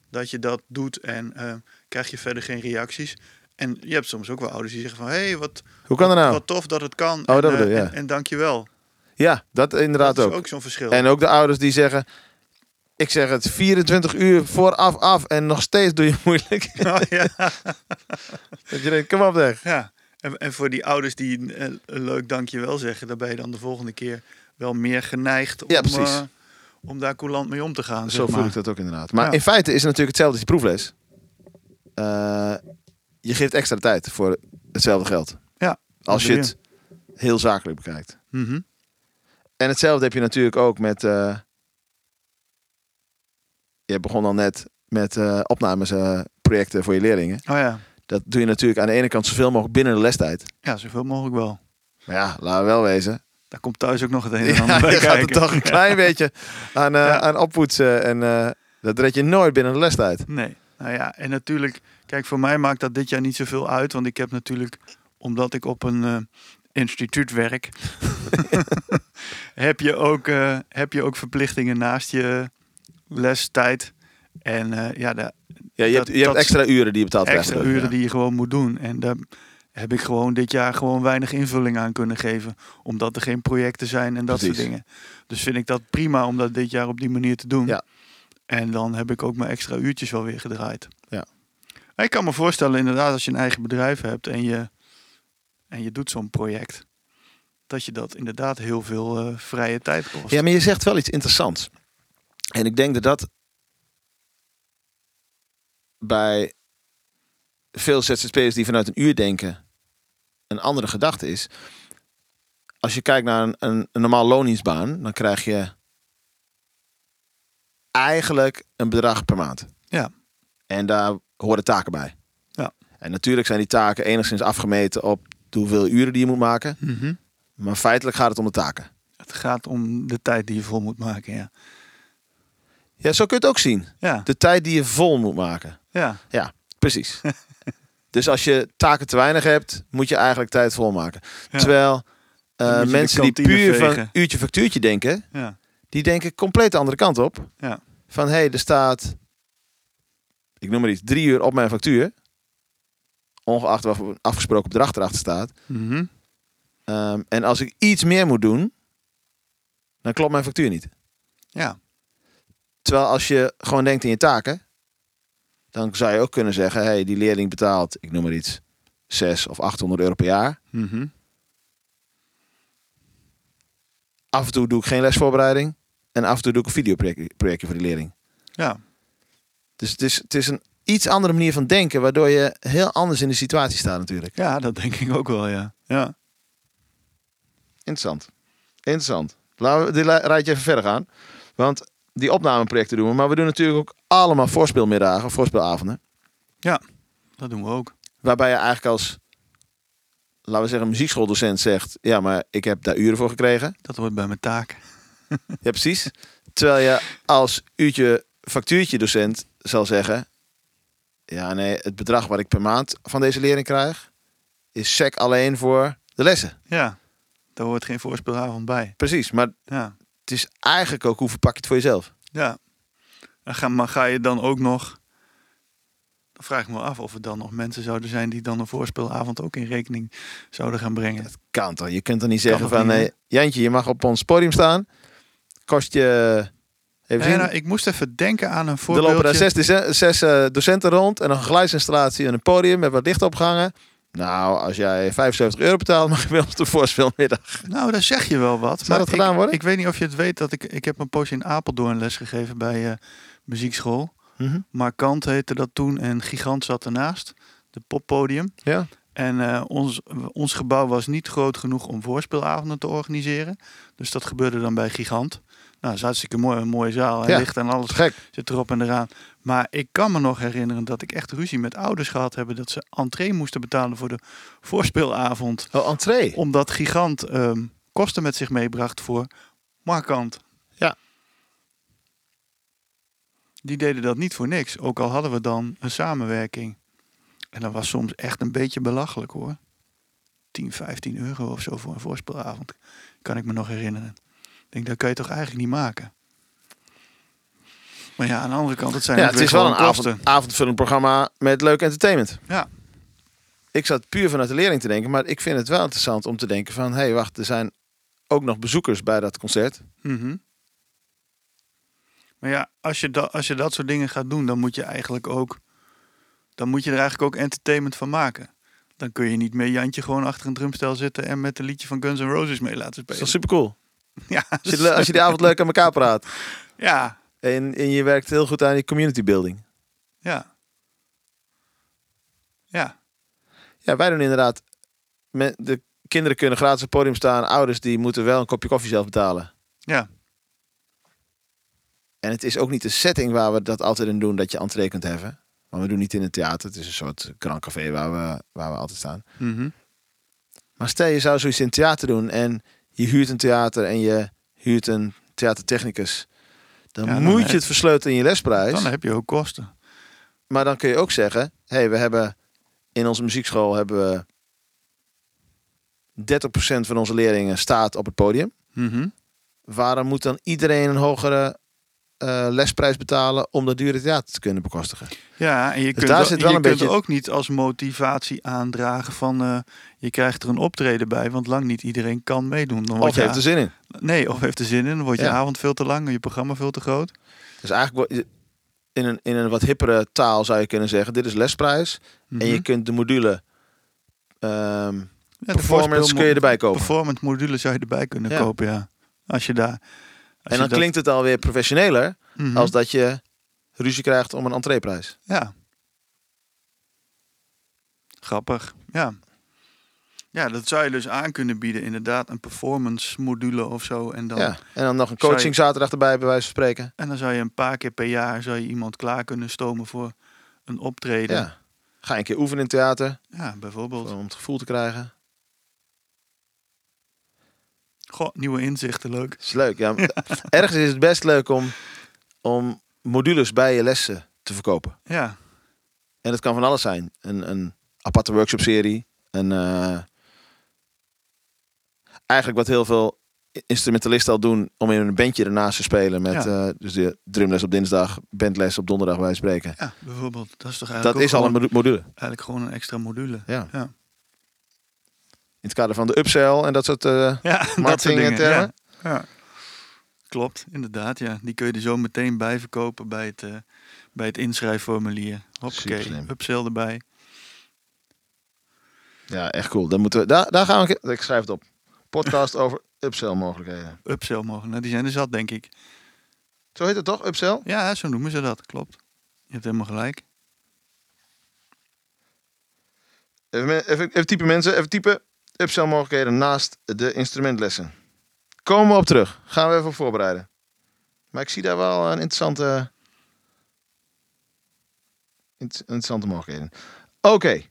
Speaker 4: dat je dat doet en eh, krijg je verder geen reacties. En je hebt soms ook wel ouders die zeggen van hé, hey, wat,
Speaker 3: Hoe kan dat nou?
Speaker 4: wat tof dat het kan.
Speaker 3: Oh,
Speaker 4: en,
Speaker 3: dat
Speaker 4: eh,
Speaker 3: bedoel je, ja.
Speaker 4: en, en dankjewel.
Speaker 3: Ja, dat inderdaad
Speaker 4: Dat is
Speaker 3: ook.
Speaker 4: ook zo'n verschil.
Speaker 3: En ook de ouders die zeggen... Ik zeg het 24 uur vooraf af en nog steeds doe je moeilijk.
Speaker 4: Oh, ja.
Speaker 3: dat je denkt, kom op zeg.
Speaker 4: Ja, en, en voor die ouders die een, een leuk dankjewel zeggen, daar ben je dan de volgende keer wel meer geneigd om,
Speaker 3: Ja, precies.
Speaker 4: eh, om daar coulant mee om te gaan.
Speaker 3: Zo
Speaker 4: zeg
Speaker 3: voel
Speaker 4: maar.
Speaker 3: ik dat ook inderdaad. Maar
Speaker 4: Ja.
Speaker 3: in feite is het natuurlijk hetzelfde als die proefles. Eh, je geeft extra tijd voor hetzelfde geld.
Speaker 4: Ja,
Speaker 3: Als je
Speaker 4: bedoel
Speaker 3: het heel zakelijk bekijkt.
Speaker 4: Mhm.
Speaker 3: En hetzelfde heb je natuurlijk ook met... eh, je begon al net met eh opnames, eh, projecten voor je leerlingen.
Speaker 4: Oh ja.
Speaker 3: Dat doe je natuurlijk aan de ene kant zoveel mogelijk binnen de lestijd.
Speaker 4: ja, zoveel mogelijk wel.
Speaker 3: Maar ja, laten we wel wezen.
Speaker 4: Daar komt thuis ook nog het een en
Speaker 3: Ja,
Speaker 4: ander bij
Speaker 3: je gaat er
Speaker 4: kijken.
Speaker 3: toch een klein beetje aan, eh,
Speaker 4: Ja.
Speaker 3: aan oppoetsen. En eh, dat red je nooit binnen de lestijd.
Speaker 4: Nee, nou ja, en natuurlijk, kijk, voor mij maakt dat dit jaar niet zoveel uit, want ik heb natuurlijk, omdat ik op een eh, instituut werk, heb, je ook, eh, heb je ook verplichtingen naast je lestijd. En eh, ja, daar,
Speaker 3: Ja, je
Speaker 4: Dat-
Speaker 3: hebt, je hebt
Speaker 4: dat-
Speaker 3: extra uren die je betaald krijgt.
Speaker 4: extra
Speaker 3: ook,
Speaker 4: uren
Speaker 3: ja.
Speaker 4: die je gewoon moet doen. En daar heb ik gewoon dit jaar gewoon weinig invulling aan kunnen geven. Omdat er geen projecten zijn en dat
Speaker 3: Precies.
Speaker 4: soort dingen. Dus vind ik dat prima om dat dit jaar op die manier te doen.
Speaker 3: Ja.
Speaker 4: En dan heb ik ook mijn extra uurtjes wel weer gedraaid.
Speaker 3: Ja.
Speaker 4: En Ik kan me voorstellen inderdaad als je een eigen bedrijf hebt en je, en je doet zo'n project. Dat je dat inderdaad heel veel eh, vrije tijd kost.
Speaker 3: Ja, maar je zegt wel iets interessants. En ik denk dat dat bij veel ZZP'ers die vanuit een uur denken een andere gedachte is. Als je kijkt naar een, een, een normaal loondienstbaan, dan krijg je eigenlijk een bedrag per maand.
Speaker 4: Ja.
Speaker 3: En daar horen taken bij.
Speaker 4: Ja.
Speaker 3: En natuurlijk zijn die taken enigszins afgemeten op de hoeveel uren die je moet maken.
Speaker 4: Mhm.
Speaker 3: Maar feitelijk gaat het om de taken.
Speaker 4: Het gaat om de tijd die je vol moet maken. Ja,
Speaker 3: Ja, zo kun je het ook zien.
Speaker 4: ja,
Speaker 3: De tijd die je vol moet maken.
Speaker 4: ja.
Speaker 3: Ja, precies. dus als je taken te weinig hebt, moet je eigenlijk tijd vol maken.
Speaker 4: Ja.
Speaker 3: Terwijl eh,
Speaker 4: moet je de
Speaker 3: mensen die
Speaker 4: kantine
Speaker 3: puur van
Speaker 4: vegen.
Speaker 3: uurtje factuurtje denken,
Speaker 4: ja.
Speaker 3: die denken compleet de andere kant op.
Speaker 4: Ja.
Speaker 3: Van hé, hey, er staat, ik noem maar iets, drie uur op mijn factuur. Ongeacht wat voor afgesproken bedrag erachter staat.
Speaker 4: Mhm.
Speaker 3: Ehm, en als ik iets meer moet doen, dan klopt mijn factuur niet.
Speaker 4: ja.
Speaker 3: Terwijl als je gewoon denkt in je taken, dan zou je ook kunnen zeggen: hey, die leerling betaalt, ik noem maar iets, 6 of 800 euro per jaar.
Speaker 4: Mhm.
Speaker 3: Af en toe doe ik geen lesvoorbereiding. En af en toe doe ik een videoprojectje projectje voor die leerling.
Speaker 4: Ja,
Speaker 3: Dus het is, het is een iets andere manier van denken, waardoor je heel anders in de situatie staat natuurlijk.
Speaker 4: ja, dat denk ik ook wel, ja. Ja,
Speaker 3: Interessant. Interessant. Laten we dit la- rijtje even verder gaan. Want die opnameprojecten doen we, maar we doen natuurlijk ook allemaal voorspeelmiddagen, voorspeelavonden.
Speaker 4: ja dat doen we ook.
Speaker 3: Waarbij je eigenlijk als, laten we zeggen, muziekschooldocent zegt, ja, maar ik heb daar uren voor gekregen.
Speaker 4: Dat hoort bij mijn taak.
Speaker 3: Ja, precies. Terwijl je als uurtje factuurtje docent zal zeggen, ja, nee, het bedrag wat ik per maand van deze leerling krijg, is sec alleen voor de lessen.
Speaker 4: Ja, daar hoort geen voorspelavond bij.
Speaker 3: Precies, maar
Speaker 4: Ja,
Speaker 3: het is eigenlijk ook hoe verpak je het voor jezelf.
Speaker 4: ja. En ga, maar ga je dan ook nog... Dan vraag ik me af of er dan nog mensen zouden zijn... die dan een voorspelavond ook in rekening zouden gaan brengen.
Speaker 3: kan toch? Je kunt dan niet zeggen
Speaker 4: Kan toch
Speaker 3: van...
Speaker 4: niet,
Speaker 3: eh, Jantje, je mag op ons podium staan. Kost je... Even
Speaker 4: Ja,
Speaker 3: zien.
Speaker 4: nou, ik moest even denken aan een
Speaker 3: er
Speaker 4: voorbeeldje.
Speaker 3: lopen daar zes, dece- zes eh, docenten rond. En een geluidsinstallatie en een podium met wat licht opgehangen. Nou, als jij 75 euro betaalt, mag je wel op de voorspelmiddag.
Speaker 4: Nou, daar zeg je wel wat.
Speaker 3: dat gedaan
Speaker 4: ik,
Speaker 3: worden?
Speaker 4: Ik weet niet of je het weet dat ik, ik heb een poosje in Apeldoorn les gegeven bij eh, muziekschool.
Speaker 3: Mhm.
Speaker 4: Markant heette dat toen en Gigant zat ernaast, de poppodium.
Speaker 3: Ja.
Speaker 4: En eh, ons, ons gebouw was niet groot genoeg om voorspeelavonden te organiseren. Dus dat gebeurde dan bij Gigant. Nou, dat is hartstikke mooi, een mooie zaal en
Speaker 3: Ja.
Speaker 4: licht en alles
Speaker 3: Gek.
Speaker 4: zit erop en eraan. Maar ik kan me nog herinneren dat ik echt ruzie met ouders gehad heb dat ze entree moesten betalen voor de voorspeelavond
Speaker 3: Oh, entree.
Speaker 4: omdat Gigant ehm, kosten met zich meebracht voor Markant.
Speaker 3: Ja.
Speaker 4: Die deden dat niet voor niks, ook al hadden we dan een samenwerking. En dat was soms echt een beetje belachelijk hoor. 10, 15 euro of zo voor een voorspelavond, kan ik me nog herinneren. Ik denk, dat kan je toch eigenlijk niet maken? Maar ja, aan de andere kant, het zijn
Speaker 3: Ja,
Speaker 4: ook
Speaker 3: het
Speaker 4: weer
Speaker 3: is wel een
Speaker 4: gewoon
Speaker 3: avond,
Speaker 4: kosten.
Speaker 3: avondvullend programma met leuk entertainment.
Speaker 4: Ja.
Speaker 3: Ik zat puur vanuit de leerling te denken. Maar ik vind het wel interessant om te denken van... Hé, hey, wacht, er zijn ook nog bezoekers bij dat concert.
Speaker 4: Mhm. Maar ja, als je, da- als je dat soort dingen gaat doen, dan moet je eigenlijk ook. Dan moet je er eigenlijk ook entertainment van maken. Dan kun je niet meer Jantje gewoon achter een drumstel zitten en met een liedje van Guns N' Roses mee laten
Speaker 3: Dat is
Speaker 4: spelen.
Speaker 3: toch super cool?
Speaker 4: ja,
Speaker 3: Als je, als je die avond leuk aan elkaar praat.
Speaker 4: ja,
Speaker 3: En, en je werkt heel goed aan je community building.
Speaker 4: ja. Ja,
Speaker 3: Ja, wij doen inderdaad. me- De kinderen kunnen gratis op het podium staan. Ouders die moeten wel een kopje koffie zelf betalen.
Speaker 4: ja.
Speaker 3: En het is ook niet de setting waar we dat altijd in doen dat je entree kunt heffen. Maar we doen niet in een theater. Het is een soort grand café waar we, waar we altijd staan.
Speaker 4: Mhm.
Speaker 3: Maar stel je zou zoiets in het theater doen en je huurt een theater en je huurt een theatertechnicus. Dan,
Speaker 4: Ja, dan
Speaker 3: moet
Speaker 4: heb-
Speaker 3: je het versleutelen in je lesprijs.
Speaker 4: Dan heb je ook kosten.
Speaker 3: Maar dan kun je ook zeggen: hé, hey, we hebben in onze muziekschool hebben we 30% van onze leerlingen staat op het podium.
Speaker 4: Mhm.
Speaker 3: Waarom moet dan iedereen een hogere eh, lesprijs betalen om dat dure theater te kunnen bekostigen?
Speaker 4: Ja, en je kunt,
Speaker 3: daar
Speaker 4: wel-
Speaker 3: zit wel
Speaker 4: je
Speaker 3: een
Speaker 4: kunt
Speaker 3: beetje-
Speaker 4: ook niet als motivatie aandragen van eh, je krijgt er een optreden bij, want lang niet iedereen kan meedoen. Dan word
Speaker 3: Of je
Speaker 4: je
Speaker 3: heeft er zin in.
Speaker 4: Nee, of heeft er zin in, dan wordt je
Speaker 3: Ja.
Speaker 4: avond veel te lang, je programma veel te groot.
Speaker 3: Dus eigenlijk wo- in een, in een wat hippere taal zou je kunnen zeggen: dit is lesprijs. En
Speaker 4: Mhm.
Speaker 3: je kunt de module ehm,
Speaker 4: Ja, de
Speaker 3: performance kun je
Speaker 4: voorspeelmo-
Speaker 3: erbij kopen.
Speaker 4: Performance module zou je erbij kunnen
Speaker 3: Ja.
Speaker 4: kopen, ja. Als je daar... als
Speaker 3: en
Speaker 4: je
Speaker 3: dan
Speaker 4: dat-
Speaker 3: klinkt het alweer professioneler
Speaker 4: Mhm.
Speaker 3: als dat je ruzie krijgt om een entreeprijs.
Speaker 4: Ja. Grappig, ja. Ja, dat zou je dus aan kunnen bieden, inderdaad. Een performance module of zo. En dan,
Speaker 3: Ja, en dan nog een
Speaker 4: zou je-
Speaker 3: coaching zaterdag erbij, bij wijze van spreken.
Speaker 4: en dan zou je een paar keer per jaar zou je iemand klaar kunnen stomen voor een optreden. Ja,
Speaker 3: Ja. Ga een keer oefenen in het theater
Speaker 4: bijvoorbeeld.
Speaker 3: om het gevoel te krijgen.
Speaker 4: Goh, nieuwe inzichten, leuk.
Speaker 3: is leuk. Ja. Ergens is het best leuk om, om modules bij je lessen te verkopen.
Speaker 4: Ja,
Speaker 3: En dat kan van alles zijn. Een, een aparte workshopserie. Een, eh, eigenlijk wat heel veel instrumentalisten al doen om in een bandje ernaast te spelen. Met
Speaker 4: Ja.
Speaker 3: eh, dus de drumles op dinsdag, bandles op donderdag bij spreken.
Speaker 4: ja, bijvoorbeeld. Dat is toch eigenlijk
Speaker 3: Dat
Speaker 4: ook
Speaker 3: is al
Speaker 4: gewoon-
Speaker 3: een modu- module.
Speaker 4: eigenlijk gewoon een extra module.
Speaker 3: Ja.
Speaker 4: Ja,
Speaker 3: In het kader van de upsell en dat soort eh,
Speaker 4: ja dat soort
Speaker 3: marketing
Speaker 4: dingen,
Speaker 3: termen.
Speaker 4: ja. Ja. Klopt, inderdaad. Ja. Die kun je er zo meteen bij verkopen bij het eh, bij het inschrijfformulier. Hoppakee,
Speaker 3: Superslim.
Speaker 4: upsell erbij.
Speaker 3: Ja, echt cool. Dan moeten we, daar, daar gaan we. Ik schrijf het op. Podcast over upsell mogelijkheden.
Speaker 4: Upsell mogen. Nou, die zijn er zat, denk ik.
Speaker 3: Zo heet het toch? Upsell?
Speaker 4: Ja, zo noemen ze dat. Klopt. Je hebt helemaal gelijk.
Speaker 3: Even, men- even, even typen mensen. Even typen. Upsell mogelijkheden naast de instrumentlessen. Komen we op terug. Gaan we even op voorbereiden. Maar ik zie daar wel een interessante. inter- Interessante mogelijkheden. Oké.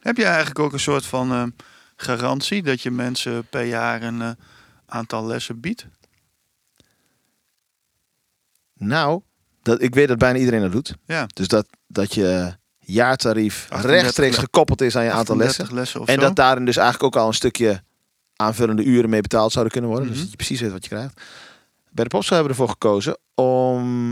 Speaker 4: Heb je eigenlijk ook een soort van eh, garantie dat je mensen per jaar een eh, aantal lessen biedt?
Speaker 3: Nou, dat, ik weet dat bijna iedereen dat doet.
Speaker 4: Ja.
Speaker 3: Dus dat, dat je jaartarief
Speaker 4: 38
Speaker 3: rechtstreeks
Speaker 4: le-
Speaker 3: gekoppeld is aan je aantal
Speaker 4: 38
Speaker 3: lessen.
Speaker 4: lessen of
Speaker 3: En
Speaker 4: zo?
Speaker 3: dat daarin dus eigenlijk ook al een stukje aanvullende uren mee betaald zouden kunnen worden.
Speaker 4: Mhm.
Speaker 3: Dus dat je precies weet wat je krijgt. Bij de Popstar hebben we ervoor gekozen om...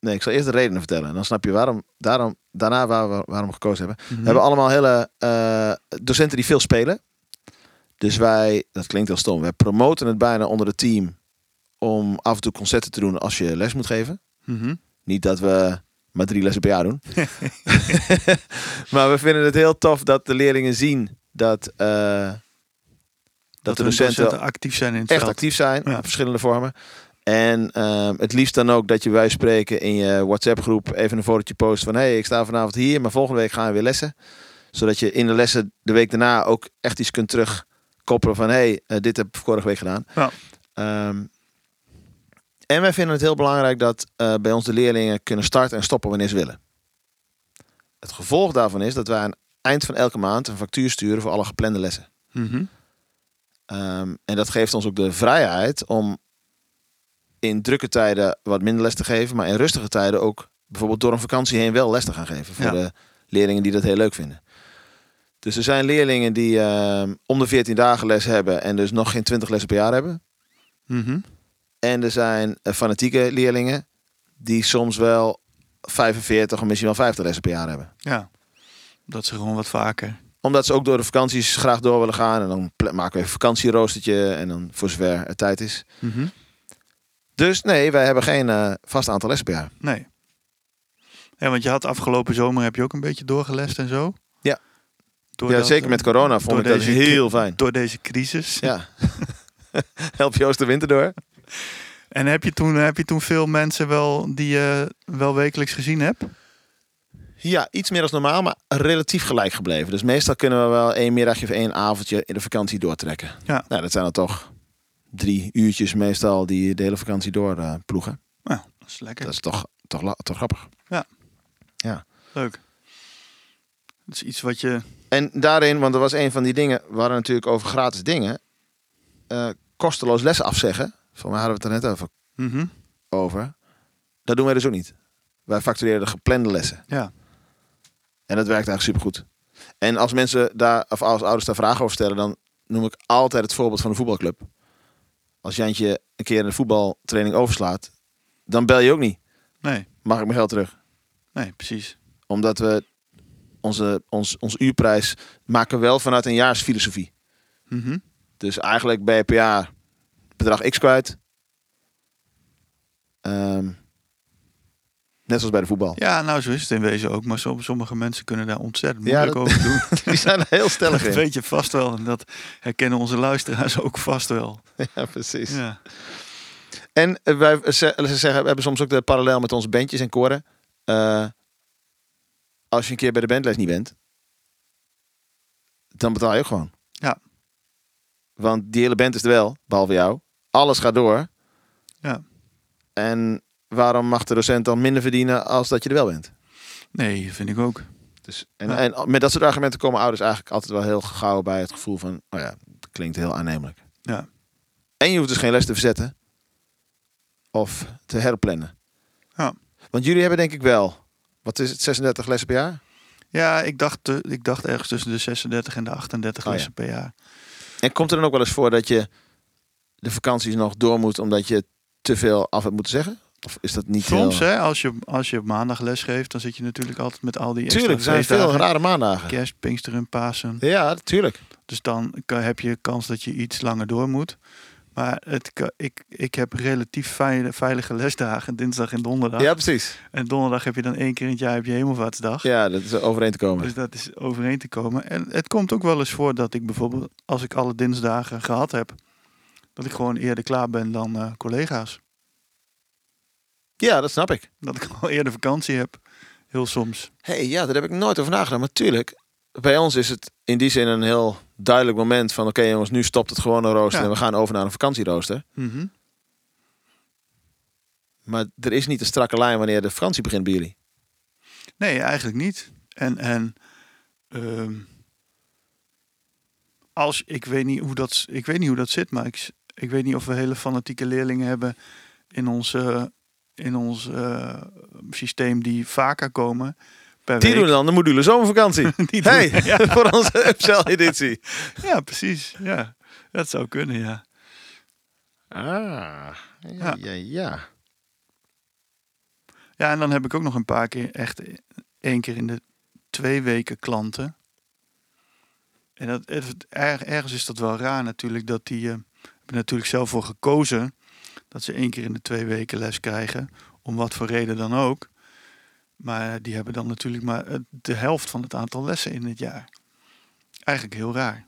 Speaker 3: Nee, ik zal eerst de redenen vertellen. Dan snap je waarom, daarom, daarna waar we, waarom we gekozen hebben.
Speaker 4: Mhm.
Speaker 3: We hebben allemaal hele eh, docenten die veel spelen. Dus wij, dat klinkt heel stom, wij promoten het bijna onder het team om af en toe concerten te doen als je les moet geven.
Speaker 4: Mhm.
Speaker 3: Niet dat we maar drie lessen per jaar doen. maar we vinden het heel tof dat de leerlingen zien dat, eh, dat,
Speaker 4: Dat
Speaker 3: de
Speaker 4: hun
Speaker 3: docenten,
Speaker 4: actief zijn in het
Speaker 3: echt
Speaker 4: veld.
Speaker 3: actief zijn
Speaker 4: Ja.
Speaker 3: op verschillende vormen. En ehm, het liefst dan ook dat je wij spreken in je WhatsApp groep even een fotootje post van hé, hey, ik sta vanavond hier, maar volgende week gaan we weer lessen. Zodat je in de lessen de week daarna ook echt iets kunt terugkoppelen van hé, hey, eh, dit heb ik vorige week gedaan.
Speaker 4: Ja.
Speaker 3: Ehm, en wij vinden het heel belangrijk dat eh, bij ons de leerlingen kunnen starten en stoppen wanneer ze willen. Het gevolg daarvan is dat wij aan het eind van elke maand een factuur sturen voor alle geplande lessen.
Speaker 4: Mhm.
Speaker 3: Ehm, en dat geeft ons ook de vrijheid om in drukke tijden wat minder les te geven, maar in rustige tijden ook bijvoorbeeld door een vakantie heen wel les te gaan geven voor
Speaker 4: Ja.
Speaker 3: de leerlingen die dat heel leuk vinden. Dus er zijn leerlingen die ehm, om de 14 dagen les hebben en dus nog geen 20 lessen per jaar hebben.
Speaker 4: Mhm.
Speaker 3: En er zijn eh, fanatieke leerlingen die soms wel 45 of misschien wel 50 lessen per jaar hebben.
Speaker 4: Ja, dat ze gewoon wat vaker.
Speaker 3: Omdat ze ook door de vakanties graag door willen gaan. En dan pla- maken we een vakantieroostertje en dan voor zover er tijd is.
Speaker 4: Mhm.
Speaker 3: Dus nee, wij hebben geen eh, vast aantal lessen per jaar.
Speaker 4: Nee. Ja, want je had afgelopen zomer heb je ook een beetje doorgelest en zo.
Speaker 3: Ja.
Speaker 4: Door
Speaker 3: Ja,
Speaker 4: dat,
Speaker 3: zeker met corona
Speaker 4: door
Speaker 3: vond ik dat
Speaker 4: deze
Speaker 3: heel fijn.
Speaker 4: Door deze crisis.
Speaker 3: Ja. Help Joost de winter door.
Speaker 4: En heb je, toen, heb je toen veel mensen wel die je wel wekelijks gezien hebt?
Speaker 3: Ja, iets meer als normaal, maar relatief gelijk gebleven. Dus meestal kunnen we wel één middagje of één avondje in de vakantie doortrekken.
Speaker 4: Ja.
Speaker 3: Nou, dat zijn dan toch drie uurtjes meestal die de hele vakantie door eh, ploegen.
Speaker 4: Nou, dat is lekker.
Speaker 3: Dat is toch, toch, la- toch grappig.
Speaker 4: Leuk. Dat is iets wat je...
Speaker 3: En daarin, want dat was een van die dingen, we hadden natuurlijk over gratis dingen. eh, kosteloos les afzeggen. Voor mij hadden we het er net over.
Speaker 4: Mhm.
Speaker 3: over. Dat doen wij dus ook niet. Wij factureren de geplande lessen.
Speaker 4: Ja.
Speaker 3: En dat werkt eigenlijk supergoed. En als mensen daar, of als ouders daar vragen over stellen, dan noem ik altijd het voorbeeld van een voetbalclub. Als Jantje een keer een voetbaltraining overslaat, dan bel je ook niet.
Speaker 4: Nee,
Speaker 3: Mag ik mijn geld terug?
Speaker 4: nee, precies.
Speaker 3: Omdat we onze, ons, ons uurprijs maken wel vanuit een jaarsfilosofie.
Speaker 4: Mhm.
Speaker 3: Dus eigenlijk ben je per jaar bedrag X kwijt. Ehm, net zoals bij de voetbal.
Speaker 4: Ja, nou zo is het in wezen ook. Maar som- sommige mensen kunnen daar ontzettend
Speaker 3: Ja,
Speaker 4: moeilijk
Speaker 3: dat-
Speaker 4: over doen.
Speaker 3: Die zijn er heel stellig
Speaker 4: Dat
Speaker 3: in.
Speaker 4: weet je vast wel. En dat herkennen onze luisteraars ook vast wel.
Speaker 3: Ja, precies.
Speaker 4: Ja.
Speaker 3: En eh, wij eh, ze- ze zeggen, we hebben soms ook de parallel met onze bandjes en koren. Eh, als je een keer bij de bandles niet bent, dan betaal je ook gewoon.
Speaker 4: Ja.
Speaker 3: Want die hele band is er wel, behalve jou. Alles gaat door.
Speaker 4: Ja.
Speaker 3: En waarom mag de docent dan minder verdienen als dat je er wel bent?
Speaker 4: Nee, dat vind ik ook.
Speaker 3: Dus, en,
Speaker 4: Ja.
Speaker 3: en met dat soort argumenten komen ouders eigenlijk altijd wel heel gauw bij het gevoel van, oh ja, dat klinkt heel aannemelijk.
Speaker 4: Ja.
Speaker 3: En je hoeft dus geen les te verzetten of te herplannen.
Speaker 4: Ja.
Speaker 3: Want jullie hebben denk ik wel, wat is het, 36 lessen per jaar?
Speaker 4: Ja, ik dacht, eh, ik dacht ergens tussen de 36 en de 38
Speaker 3: Oh, ja.
Speaker 4: lessen per jaar.
Speaker 3: En komt er dan ook wel eens voor dat je de vakanties nog door moet omdat je te veel af hebt moeten zeggen? Of is dat niet
Speaker 4: Soms,
Speaker 3: heel...
Speaker 4: hè, als je, als je op maandag les geeft, dan zit je natuurlijk altijd met al die extra
Speaker 3: Tuurlijk, er zijn veel
Speaker 4: feestdagen.
Speaker 3: rare maandagen.
Speaker 4: Kerst, Pinkster en Pasen.
Speaker 3: Ja, tuurlijk.
Speaker 4: Dus dan ka- heb je kans dat je iets langer door moet. Maar het, ka- ik, ik heb relatief veilige, veilige lesdagen. Dinsdag en donderdag.
Speaker 3: Ja, precies.
Speaker 4: En donderdag heb je dan één keer in het jaar heb je hemelvaartsdag.
Speaker 3: Ja, dat is overeen te komen.
Speaker 4: Dus dat is overeen te komen. En het komt ook wel eens voor dat ik bijvoorbeeld, als ik alle dinsdagen gehad heb, dat ik gewoon eerder klaar ben dan eh, collega's.
Speaker 3: Ja, dat snap ik.
Speaker 4: Dat ik al eerder vakantie heb. Heel soms.
Speaker 3: hey, ja, daar heb ik nooit over nagedacht. Maar tuurlijk, bij ons is het in die zin een heel duidelijk moment van... oké jongens, nu stopt het gewone rooster
Speaker 4: Ja.
Speaker 3: en we gaan over naar een vakantierooster.
Speaker 4: Mhm.
Speaker 3: Maar er is niet een strakke lijn wanneer de vakantie begint bij jullie.
Speaker 4: Nee, eigenlijk niet. En, en ehm, als ik weet niet hoe dat, ik weet niet hoe dat zit, maar ik, s- ik weet niet of we hele fanatieke leerlingen hebben in ons, eh, in ons eh, systeem die vaker komen. Per
Speaker 3: Die
Speaker 4: week.
Speaker 3: doen dan de module zomervakantie.
Speaker 4: Die doen-
Speaker 3: hey, voor onze Upsell-editie.
Speaker 4: Ja, precies. Ja, dat zou kunnen, ja.
Speaker 3: Ah,
Speaker 4: Ja.
Speaker 3: ja, ja.
Speaker 4: Ja, en dan heb ik ook nog een paar keer echt e-, één keer in de twee weken klanten. En dat, het- er- ergens is dat wel raar natuurlijk, dat die eh, hebben er natuurlijk zelf voor gekozen dat ze één keer in de twee weken les krijgen, om wat voor reden dan ook. Maar die hebben dan natuurlijk maar eh, de helft van het aantal lessen in het jaar. Eigenlijk heel raar.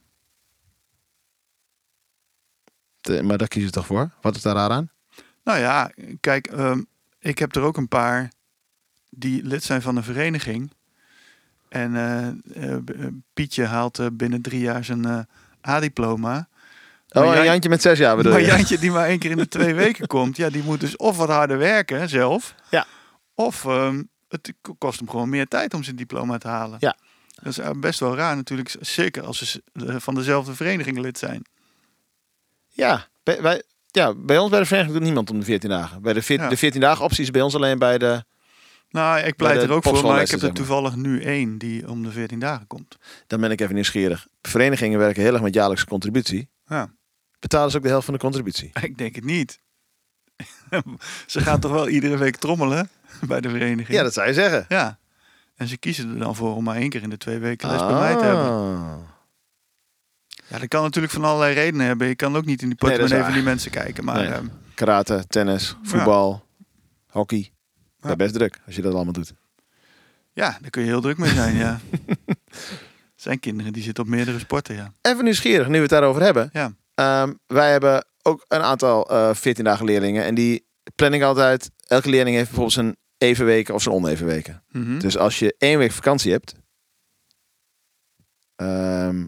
Speaker 3: Te- Eh, maar daar kies je toch voor? Wat is daar raar aan?
Speaker 4: Nou ja, kijk, ehm, ik heb er ook een paar die lid zijn van een vereniging. En eh, eh, B- eh, Pietje haalt eh, binnen drie jaar zijn eh, A-diploma.
Speaker 3: Oh,
Speaker 4: Maar
Speaker 3: een
Speaker 4: jij-
Speaker 3: Jantje met zes jaar bedoel
Speaker 4: Maar
Speaker 3: je?
Speaker 4: Jantje, die maar één keer in de twee weken komt, ja, die moet dus of wat harder werken zelf.
Speaker 3: Ja.
Speaker 4: Of ehm, het k- kost hem gewoon meer tijd om zijn diploma te halen.
Speaker 3: Ja.
Speaker 4: Dat is eh, best wel raar natuurlijk, z- zeker als ze s- eh, van dezelfde vereniging lid zijn.
Speaker 3: Ja, bij, wij, ja, bij ons bij de vereniging doet niemand om de 14 dagen. Bij de, veer-
Speaker 4: Ja.
Speaker 3: de 14 dagen optie is bij ons alleen bij de...
Speaker 4: Nou, ik
Speaker 3: Bij
Speaker 4: pleit
Speaker 3: de
Speaker 4: er ook voor, maar ik
Speaker 3: popschoollessen,
Speaker 4: heb
Speaker 3: zeg
Speaker 4: er
Speaker 3: maar.
Speaker 4: toevallig nu één die om de 14 dagen komt.
Speaker 3: Dan ben ik even nieuwsgierig. Verenigingen werken heel erg met jaarlijkse contributie.
Speaker 4: Ja.
Speaker 3: Betalen ze ook de helft van de contributie?
Speaker 4: Ik denk het niet. ze gaan toch wel iedere week trommelen bij de vereniging?
Speaker 3: Ja, dat zou je zeggen.
Speaker 4: Ja. En ze kiezen er dan voor om maar één keer in de twee weken les bij
Speaker 3: Ah.
Speaker 4: mij te hebben. Ja, dat kan natuurlijk van allerlei redenen hebben. Ik kan ook niet in die
Speaker 3: Nee, dat is
Speaker 4: portemonnee
Speaker 3: waar.
Speaker 4: van die mensen kijken. Maar
Speaker 3: Nee.
Speaker 4: ehm,
Speaker 3: Karate, tennis, voetbal, hockey. Dat
Speaker 4: Ja.
Speaker 3: is best druk als je dat allemaal doet.
Speaker 4: ja, daar kun je heel druk mee zijn, ja. Er zijn kinderen die zitten op meerdere sporten, ja.
Speaker 3: Even nieuwsgierig, nu we het daarover hebben.
Speaker 4: Ja,
Speaker 3: Ehm, wij hebben ook een aantal eh 14 dagen leerlingen. En die plan ik altijd. Elke leerling heeft bijvoorbeeld zijn even weken of zijn oneven weken.
Speaker 4: Mhm.
Speaker 3: Dus als je één week vakantie hebt, ehm,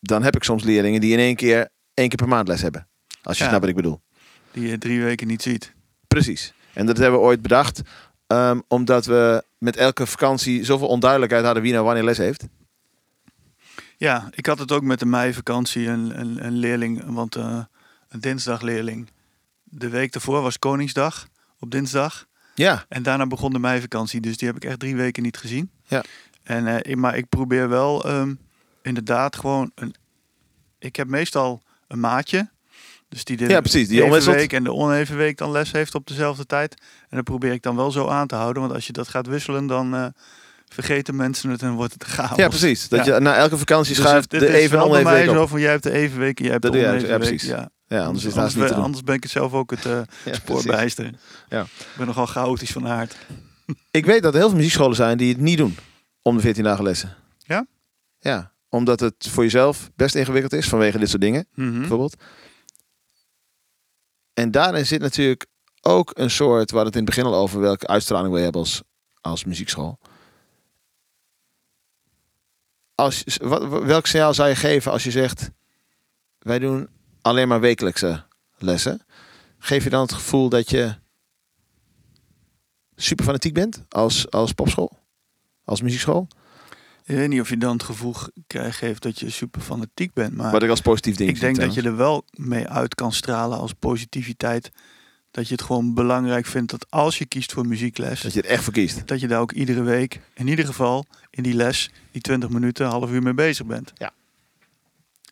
Speaker 3: dan heb ik soms leerlingen die in één keer één keer per maand les hebben. Als je
Speaker 4: Ja.
Speaker 3: snapt wat ik bedoel.
Speaker 4: die je drie weken niet ziet.
Speaker 3: Precies. En dat hebben we ooit bedacht. ehm, omdat we met elke vakantie zoveel onduidelijkheid hadden wie nou wanneer les heeft.
Speaker 4: Ja, ik had het ook met de meivakantie, een, een, een leerling, want eh, een dinsdagleerling. De week daarvoor was Koningsdag, op dinsdag.
Speaker 3: Ja,
Speaker 4: En daarna begon de meivakantie, dus die heb ik echt drie weken niet gezien.
Speaker 3: Ja.
Speaker 4: En, eh, ik- maar ik probeer wel ehm, inderdaad gewoon... Een, ik heb meestal een maatje. Dus die de
Speaker 3: Ja, precies, die
Speaker 4: even
Speaker 3: omwisselt.
Speaker 4: week en de oneven week dan les heeft op dezelfde tijd. En dat probeer ik dan wel zo aan te houden. Want als je dat gaat wisselen, dan eh, vergeten mensen het en wordt het chaos.
Speaker 3: ja precies. Dat
Speaker 4: Ja.
Speaker 3: je na elke vakantie
Speaker 4: Dus
Speaker 3: schuift
Speaker 4: het-
Speaker 3: de
Speaker 4: het is
Speaker 3: even en
Speaker 4: wel bij
Speaker 3: oneven
Speaker 4: mij
Speaker 3: week op.
Speaker 4: zo van, jij hebt de even week en jij hebt
Speaker 3: Dat
Speaker 4: de
Speaker 3: doe je,
Speaker 4: oneven
Speaker 3: ja,
Speaker 4: week.
Speaker 3: precies.
Speaker 4: Ja.
Speaker 3: Ja, anders is het haast niet te
Speaker 4: ben,
Speaker 3: doen.
Speaker 4: anders ben ik het zelf ook het eh
Speaker 3: Ja, precies.
Speaker 4: spoorbijster.
Speaker 3: Ja.
Speaker 4: Ik ben nogal chaotisch van aard.
Speaker 3: Ik weet dat er heel veel muziekscholen zijn die het niet doen om de 14 dagen lessen.
Speaker 4: Ja?
Speaker 3: Ja, omdat het voor jezelf best ingewikkeld is vanwege dit soort dingen,
Speaker 4: Mhm.
Speaker 3: bijvoorbeeld. En daarin zit natuurlijk ook een soort, waar het in het begin al over welke uitstraling we hebben als, als muziekschool. Als, je- wat, wat- welk signaal zou je geven als je zegt, wij doen alleen maar wekelijkse lessen? Geef je dan het gevoel dat je super fanatiek bent als, als popschool? Als muziekschool?
Speaker 4: Ik weet niet of je dan het gevoel ge- krijg- geeft dat je super fanatiek bent, maar
Speaker 3: Wat ik als positief ding
Speaker 4: ik denk dat je er wel mee uit kan stralen als positiviteit. Dat je het gewoon belangrijk vindt dat als je kiest voor muziekles,
Speaker 3: dat je er echt voor kiest.
Speaker 4: dat je daar ook iedere week, in ieder geval in die les, die 20 minuten, een half uur mee bezig bent.
Speaker 3: Ja.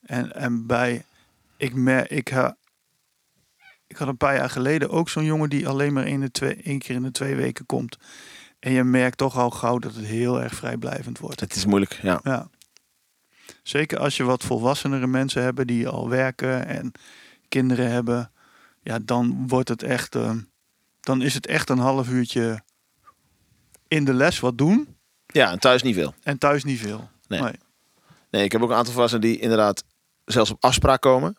Speaker 4: En, en bij, ik, mer, ik, ha, ik had een paar jaar geleden ook zo'n jongen die alleen maar één, de twee, één keer in de twee weken komt. En je merkt toch al gauw dat het heel erg vrijblijvend wordt.
Speaker 3: Het is moeilijk, ja.
Speaker 4: Ja. Zeker als je wat volwassenere mensen hebben die al werken en kinderen hebben, ja, dan wordt het echt, eh, dan is het echt een half uurtje in de les wat doen
Speaker 3: Ja, en thuis niet veel.
Speaker 4: en thuis niet veel.
Speaker 3: Nee. Nee, ik heb ook een aantal volwassenen die inderdaad zelfs op afspraak komen.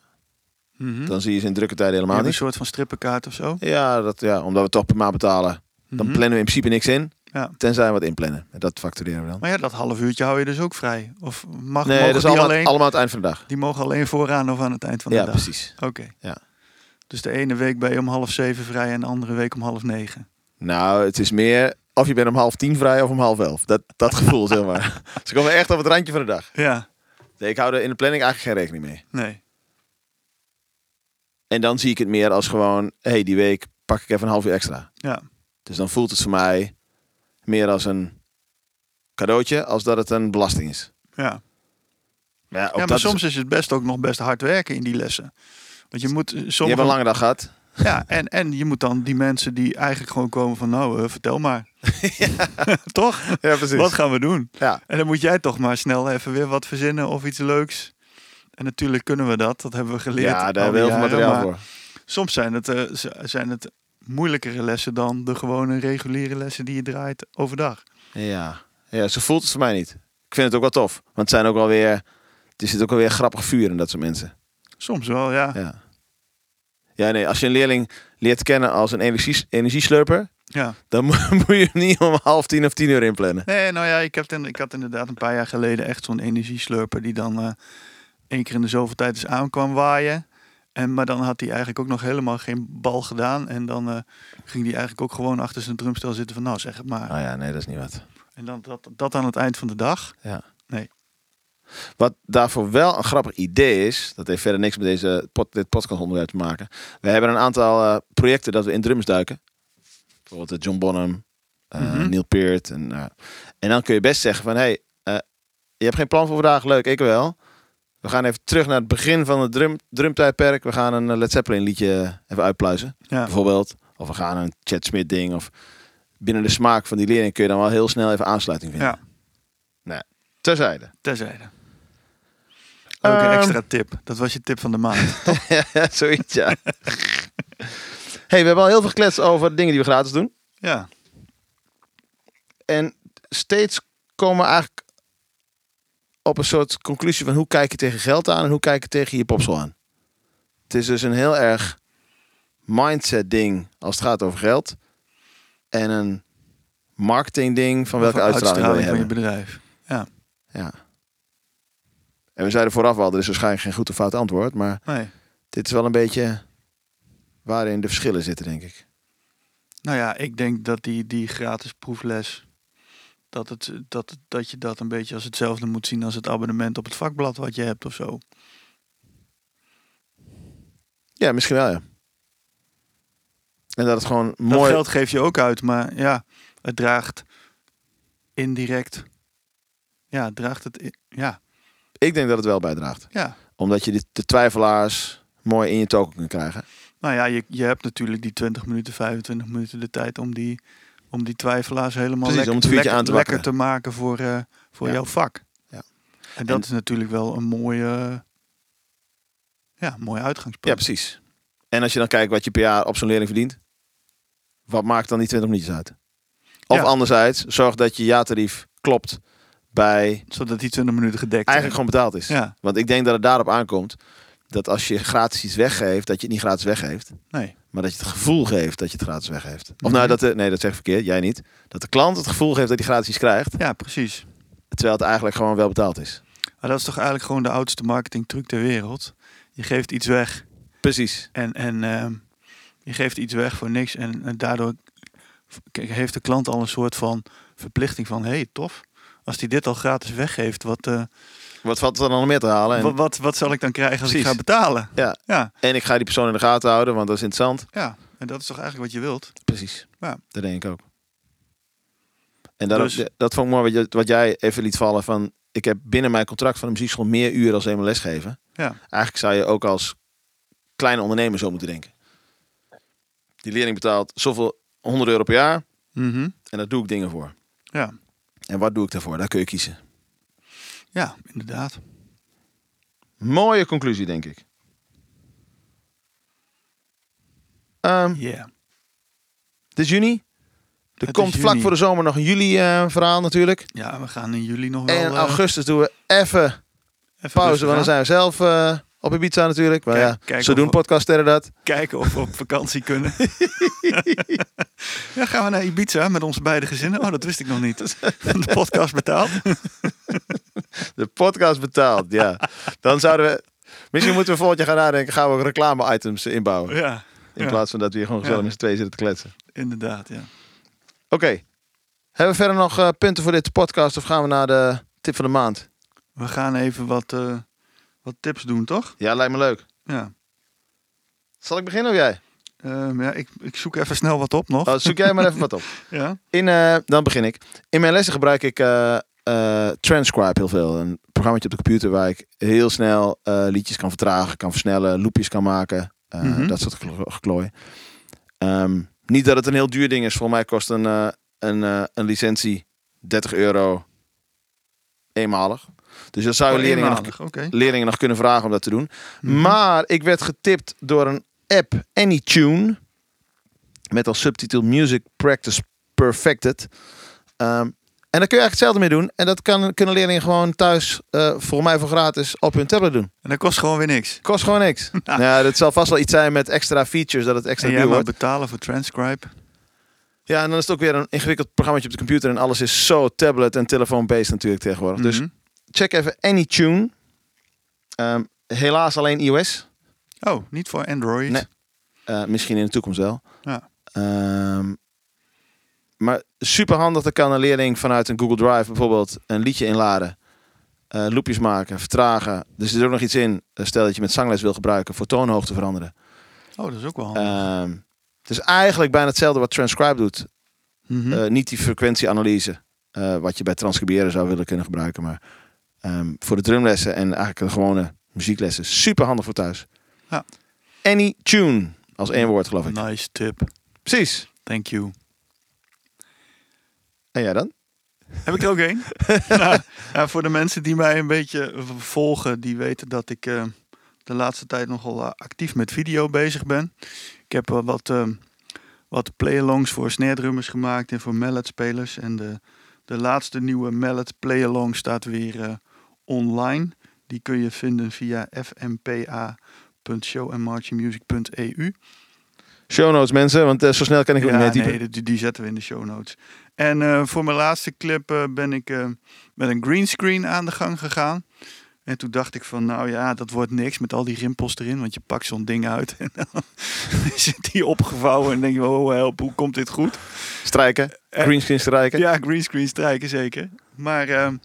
Speaker 4: Mhm.
Speaker 3: Dan zie je ze in drukke tijden
Speaker 4: Je
Speaker 3: helemaal
Speaker 4: hebt een
Speaker 3: niet.
Speaker 4: soort van strippenkaart of zo.
Speaker 3: Ja, dat, ja, omdat we toch per maand betalen. Dan
Speaker 4: Mhm.
Speaker 3: plannen we in principe niks in.
Speaker 4: Ja.
Speaker 3: Tenzij we wat inplannen. En dat factureren we dan.
Speaker 4: Maar ja, dat half uurtje hou je dus ook vrij. Of mag,
Speaker 3: Nee,
Speaker 4: mogen
Speaker 3: dat is
Speaker 4: die,
Speaker 3: allemaal,
Speaker 4: alleen,
Speaker 3: allemaal aan het eind van de dag.
Speaker 4: die mogen alleen vooraan of aan het eind van de
Speaker 3: ja,
Speaker 4: dag?
Speaker 3: precies.
Speaker 4: Oké.
Speaker 3: Ja.
Speaker 4: Dus de ene week ben je om half zeven vrij en de andere week om half negen.
Speaker 3: Nou, het is meer of je bent om half tien vrij of om half elf. Dat, dat gevoel, zeg maar. Ze komen echt op het randje van de dag.
Speaker 4: Ja,
Speaker 3: Nee, ik hou er in de planning eigenlijk geen rekening mee.
Speaker 4: nee.
Speaker 3: En dan zie ik het meer als gewoon, hé, hey, die week pak ik even een half uur extra.
Speaker 4: Ja,
Speaker 3: Dus dan voelt het voor mij meer als een cadeautje, als dat het een belasting is.
Speaker 4: ja.
Speaker 3: Maar ja, ook
Speaker 4: ja maar
Speaker 3: dat
Speaker 4: soms
Speaker 3: is,
Speaker 4: is... het best ook nog best hard werken in die lessen. Want je moet eh,
Speaker 3: je hebt
Speaker 4: sommige...
Speaker 3: een lange dag gehad.
Speaker 4: Ja, en, en je moet dan die mensen die eigenlijk gewoon komen van nou, eh, vertel maar. toch?
Speaker 3: Ja, precies.
Speaker 4: Wat gaan we doen?
Speaker 3: Ja.
Speaker 4: En dan moet jij toch maar snel even weer wat verzinnen of iets leuks. En natuurlijk kunnen we dat, dat hebben we geleerd.
Speaker 3: Ja, daar
Speaker 4: al
Speaker 3: hebben
Speaker 4: die
Speaker 3: we heel veel
Speaker 4: jaren,
Speaker 3: materiaal
Speaker 4: maar
Speaker 3: voor.
Speaker 4: Soms zijn het, eh, z- zijn het moeilijkere lessen dan de gewone reguliere lessen die je draait overdag.
Speaker 3: Ja. ja, zo voelt het voor mij niet. Ik vind het ook wel tof. Want het zijn ook wel weer, er zit ook wel weer grappig vuur in dat soort mensen.
Speaker 4: Soms wel, ja. Ja,
Speaker 3: Ja. Ja, nee, als je een leerling leert kennen als een energie, energieslurper, dan mo- moet je hem niet om half tien of tien uur inplannen.
Speaker 4: Nee, nou ja, ik, heb ten- ik had inderdaad een paar jaar geleden echt zo'n energieslurper die dan eh, één keer in de zoveel tijd eens aankwam waaien. En, maar dan had hij eigenlijk ook nog helemaal geen bal gedaan. En dan eh, ging hij eigenlijk ook gewoon achter zijn drumstel zitten van nou zeg het maar.
Speaker 3: Nou ja, nee, dat is niet wat.
Speaker 4: En dan dat, dat aan het eind van de dag.
Speaker 3: Ja.
Speaker 4: Nee.
Speaker 3: Wat daarvoor wel een grappig idee is, dat heeft verder niks met deze pod, dit podcastonderwerp te maken. We hebben een aantal eh, projecten dat we in drums duiken. Bijvoorbeeld eh, John Bonham, eh,
Speaker 4: Mhm.
Speaker 3: Neil Peart. En, eh, en dan kun je best zeggen van, hé, hey, eh, je hebt geen plan voor vandaag, leuk, ik wel. We gaan even terug naar het begin van het drum, drumtijdperk. We gaan een eh, Led Zeppelin liedje even uitpluizen,
Speaker 4: Ja.
Speaker 3: bijvoorbeeld. Of we gaan een Chad Smith ding. Of binnen de smaak van die leerling kun je dan wel heel snel even aansluiting vinden.
Speaker 4: Ja.
Speaker 3: Nee, terzijde.
Speaker 4: Terzijde. Ook een
Speaker 3: Ehm.
Speaker 4: extra tip. Dat was je tip van de maand.
Speaker 3: Ja, zoiets, ja. hey, we hebben al heel veel gekletst over dingen die we gratis doen.
Speaker 4: ja.
Speaker 3: En steeds komen we eigenlijk op een soort conclusie van hoe kijk je tegen geld aan en hoe kijk je tegen je popsel aan. Het is dus een heel erg mindset ding als het gaat over geld. En een marketing ding van welke
Speaker 4: Of een
Speaker 3: uitstraling, wil je
Speaker 4: van je
Speaker 3: hebben.
Speaker 4: bedrijf. Ja.
Speaker 3: Ja. En we zeiden vooraf al, er is waarschijnlijk geen goed of fout antwoord. Maar
Speaker 4: Nee.
Speaker 3: dit is wel een beetje waarin de verschillen zitten, denk ik.
Speaker 4: Nou ja, ik denk dat die, die gratis proefles, dat, het, dat, het- dat je dat een beetje als hetzelfde moet zien als het abonnement op het vakblad wat je hebt of zo.
Speaker 3: Ja, misschien wel, ja. En dat het gewoon
Speaker 4: Dat
Speaker 3: mooi...
Speaker 4: geld geef je ook uit, maar ja, het draagt indirect. Ja, het draagt het. i- Ja,
Speaker 3: Ik denk dat het wel bijdraagt.
Speaker 4: ja.
Speaker 3: Omdat je dit- de twijfelaars mooi in je token kunt krijgen.
Speaker 4: Nou ja, je, je hebt natuurlijk die 20 minuten, 25 minuten de tijd om die, om die twijfelaars helemaal
Speaker 3: Precies,
Speaker 4: lekker,
Speaker 3: om het vuurtje
Speaker 4: lekker,
Speaker 3: aan te
Speaker 4: lekker
Speaker 3: wakkeren.
Speaker 4: te maken voor, eh, voor
Speaker 3: Ja.
Speaker 4: jouw vak.
Speaker 3: Ja.
Speaker 4: En dat
Speaker 3: En-
Speaker 4: is natuurlijk wel een mooie, ja, mooi
Speaker 3: Ja,
Speaker 4: uitgangspunt.
Speaker 3: precies. En als je dan kijkt wat je per jaar op zo'n leerling verdient. Wat maakt dan die 20 minuutjes uit? Of
Speaker 4: Ja.
Speaker 3: anderzijds, zorg dat je jaartarief klopt bij...
Speaker 4: Zodat die 20 minuten gedekt
Speaker 3: Eigenlijk gewoon betaald is.
Speaker 4: Ja,
Speaker 3: Want ik denk dat het daarop aankomt dat als je gratis iets weggeeft, dat je het niet gratis weggeeft.
Speaker 4: nee.
Speaker 3: Maar dat je het gevoel geeft dat je het gratis weggeeft. Of
Speaker 4: Mhm.
Speaker 3: nou, dat de, nee, dat zeg ik verkeerd, jij niet. Dat de klant het gevoel geeft dat hij gratis iets krijgt.
Speaker 4: Ja, precies.
Speaker 3: Terwijl het eigenlijk gewoon wel betaald is.
Speaker 4: Maar dat is toch eigenlijk gewoon de oudste marketingtruc ter wereld. Je geeft iets weg
Speaker 3: Precies.
Speaker 4: en, en ehm, je geeft iets weg voor niks. En, en daardoor k- heeft de klant al een soort van verplichting van... hé, hey, tof. Als die dit al gratis weggeeft, wat, eh,
Speaker 3: Wat valt er dan nog meer te halen? En,
Speaker 4: wat, wat, wat zal ik dan krijgen als
Speaker 3: Precies.
Speaker 4: ik ga betalen?
Speaker 3: ja,
Speaker 4: Ja,
Speaker 3: en ik ga die persoon in de gaten houden, want dat is interessant.
Speaker 4: ja, en dat is toch eigenlijk wat je wilt?
Speaker 3: Precies.
Speaker 4: Ja.
Speaker 3: Dat denk ik ook. En daarom-
Speaker 4: Dus-
Speaker 3: dat vond ik mooi wat, je- wat jij even liet vallen van... Ik heb binnen mijn contract van de muziekschool meer uren als eenmaal lesgeven.
Speaker 4: Ja,
Speaker 3: Eigenlijk zou je ook als kleine ondernemer zo moeten denken. Die leerling betaalt zoveel 100 euro per jaar
Speaker 4: Mhm.
Speaker 3: en daar doe ik dingen voor.
Speaker 4: ja.
Speaker 3: En wat doe ik daarvoor? Daar kun je kiezen.
Speaker 4: ja inderdaad.
Speaker 3: Mooie conclusie, denk ik. Ehm,
Speaker 4: Yeah.
Speaker 3: het is juni. Er
Speaker 4: Het
Speaker 3: komt
Speaker 4: is
Speaker 3: vlak
Speaker 4: juni.
Speaker 3: voor de zomer nog een juli eh, verhaal natuurlijk.
Speaker 4: Ja, we gaan in juli nog wel...
Speaker 3: En in
Speaker 4: eh,
Speaker 3: augustus doen we even
Speaker 4: even
Speaker 3: pauze,
Speaker 4: rustig
Speaker 3: want dan
Speaker 4: aan.
Speaker 3: zijn we zelf eh op Ibiza natuurlijk. Maar
Speaker 4: Kijk-
Speaker 3: ja,
Speaker 4: kijk
Speaker 3: zo
Speaker 4: of
Speaker 3: doen
Speaker 4: we-
Speaker 3: podcaststerren dat.
Speaker 4: Kijken of we op vakantie kunnen. ja, gaan we naar Ibiza met onze beide gezinnen? Oh, dat wist ik nog niet. De podcast betaald.
Speaker 3: De podcast betaalt, ja. Dan zouden we... Misschien moeten we volgend jaar gaan nadenken, gaan we ook reclame-items inbouwen.
Speaker 4: Ja,
Speaker 3: In
Speaker 4: Ja.
Speaker 3: plaats van dat we hier gewoon gezellig
Speaker 4: Ja.
Speaker 3: met z'n tweeën zitten te kletsen.
Speaker 4: inderdaad, ja.
Speaker 3: Oké. Hebben we verder nog eh, punten voor dit podcast of gaan we naar de tip van de maand?
Speaker 4: We gaan even wat, eh, wat tips doen, toch?
Speaker 3: Ja, lijkt me leuk.
Speaker 4: Ja.
Speaker 3: Zal ik beginnen of jij?
Speaker 4: Ehm, ja ik, ik zoek even snel wat op nog.
Speaker 3: Oh, zoek jij maar even wat op.
Speaker 4: Ja.
Speaker 3: In, eh, dan begin ik. In mijn lessen gebruik ik eh, eh, Transcribe heel veel. Een programma op de computer waar ik heel snel eh, liedjes kan vertragen, kan versnellen, loopjes kan maken. eh,
Speaker 4: Mhm.
Speaker 3: Dat soort gelo- geklooi. Ehm, niet dat het een heel duur ding is. Voor mij kost een, eh, een, eh, een licentie 30 euro eenmalig. Dus dat zou je
Speaker 4: Oh,
Speaker 3: leerlingen nog,
Speaker 4: eenmalig, Oké.
Speaker 3: leerlingen nog kunnen vragen om dat te doen. Maar ik werd getipt door een app, AnyTune. Met als subtitel Music Practice Perfected. Ehm, en daar kun je eigenlijk hetzelfde mee doen. En dat kan, kunnen leerlingen gewoon thuis, eh voor mij voor gratis, op hun tablet doen.
Speaker 4: En dat kost gewoon weer niks.
Speaker 3: Kost gewoon niks. nou, ja, dat zal vast wel iets zijn met extra features, dat het extra
Speaker 4: En jij
Speaker 3: duur
Speaker 4: moet
Speaker 3: wordt.
Speaker 4: betalen voor Transcribe.
Speaker 3: Ja, en dan is het ook weer een ingewikkeld programma op de computer. En alles is zo tablet- en telefoon-based natuurlijk tegenwoordig.
Speaker 4: Mhm.
Speaker 3: Dus check even AnyTune. Ehm, helaas alleen iOS.
Speaker 4: Oh, niet voor Android.
Speaker 3: Nee. Eh, misschien in de toekomst wel.
Speaker 4: Ja.
Speaker 3: Ehm, maar super handig. Dan kan een leerling vanuit een Google Drive bijvoorbeeld een liedje inladen. eh loopjes maken, vertragen. Dus er zit ook nog iets in. eh, Stel dat je met zangles wil gebruiken voor toonhoogte veranderen.
Speaker 4: Oh, dat is ook wel handig.
Speaker 3: Ehm, het is eigenlijk bijna hetzelfde wat Transcribe doet.
Speaker 4: Mhm.
Speaker 3: Eh, niet die frequentieanalyse. eh, wat je bij transcriberen zou willen kunnen gebruiken. Maar ehm, voor de drumlessen en eigenlijk de gewone muzieklessen. Super handig voor thuis.
Speaker 4: Ja.
Speaker 3: Any tune. Als één woord geloof ik.
Speaker 4: Nice tip.
Speaker 3: Precies.
Speaker 4: Thank you.
Speaker 3: En jij dan?
Speaker 4: Heb ik er ook één? nou, ja, voor de mensen die mij een beetje eh, volgen, die weten dat ik eh, de laatste tijd nogal eh, actief met video bezig ben. Ik heb wel wat, eh, wat play-alongs voor snaredrummers gemaakt en voor malletspelers. En de, de laatste nieuwe mallet play-along staat weer eh, online. Die kun je vinden via fmpa.showandmarchingmusic.eu.
Speaker 3: Show notes mensen, want eh, zo snel kan ik ook
Speaker 4: Ja,
Speaker 3: niet typen.
Speaker 4: nee, die, die zetten we in de show notes. En eh, voor mijn laatste clip eh, ben ik eh, met een greenscreen aan de gang gegaan. En toen dacht ik van, nou ja, dat wordt niks met al die rimpels erin. Want je pakt zo'n ding uit en dan zit die opgevouwen. En denk je, oh help, hoe komt dit goed?
Speaker 3: Strijken, greenscreen strijken.
Speaker 4: Eh, Ja, greenscreen strijken zeker. Maar ehm,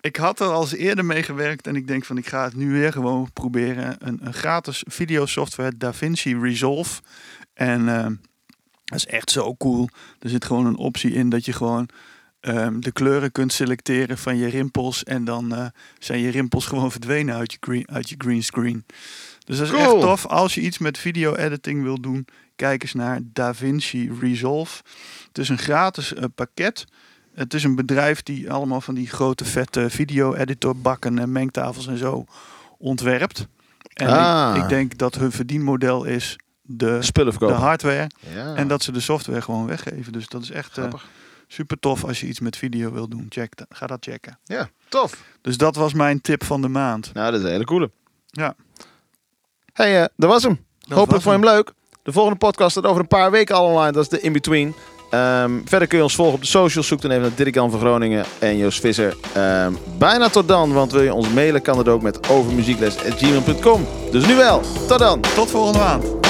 Speaker 4: ik had er al eens eerder mee gewerkt en ik denk van ik ga het nu weer gewoon proberen. Een, een gratis videosoftware DaVinci Resolve. En ehm, dat is echt zo cool. Er zit gewoon een optie in dat je gewoon ehm, de kleuren kunt selecteren van je rimpels. En dan eh, zijn je rimpels gewoon verdwenen uit je, green, uit je greenscreen. Dus dat is
Speaker 3: Cool.
Speaker 4: echt tof. Als je iets met video editing wil doen, kijk eens naar DaVinci Resolve. Het is een gratis eh, pakket. Het is een bedrijf die allemaal van die grote vette video-editorbakken en mengtafels en zo ontwerpt. En ik-
Speaker 3: Ah.
Speaker 4: ik, denk dat hun verdienmodel is de,
Speaker 3: Spullen
Speaker 4: de
Speaker 3: verkopen.
Speaker 4: hardware
Speaker 3: Ja.
Speaker 4: en dat ze de software gewoon weggeven. Dus dat is echt eh,
Speaker 3: Grappig.
Speaker 4: super tof als je iets met video wil doen. Check dat, ga dat checken.
Speaker 3: Ja, tof.
Speaker 4: Dus dat was mijn tip van de maand.
Speaker 3: Nou, dat is een hele coole.
Speaker 4: Ja.
Speaker 3: Hé, hey, eh, dat was hem. Hopelijk
Speaker 4: was
Speaker 3: vond je hem leuk. De volgende podcast staat over een paar weken al online. Dat is de In-Between. Ehm, verder kun je ons volgen op de socials. Zoek dan even naar Dirk-Jan van Groningen en Joost Visser. Ehm, bijna tot dan, want wil je ons mailen kan dat ook met overmuziekles.gmail.com. Dus nu wel. Tot dan.
Speaker 4: Tot volgende maand.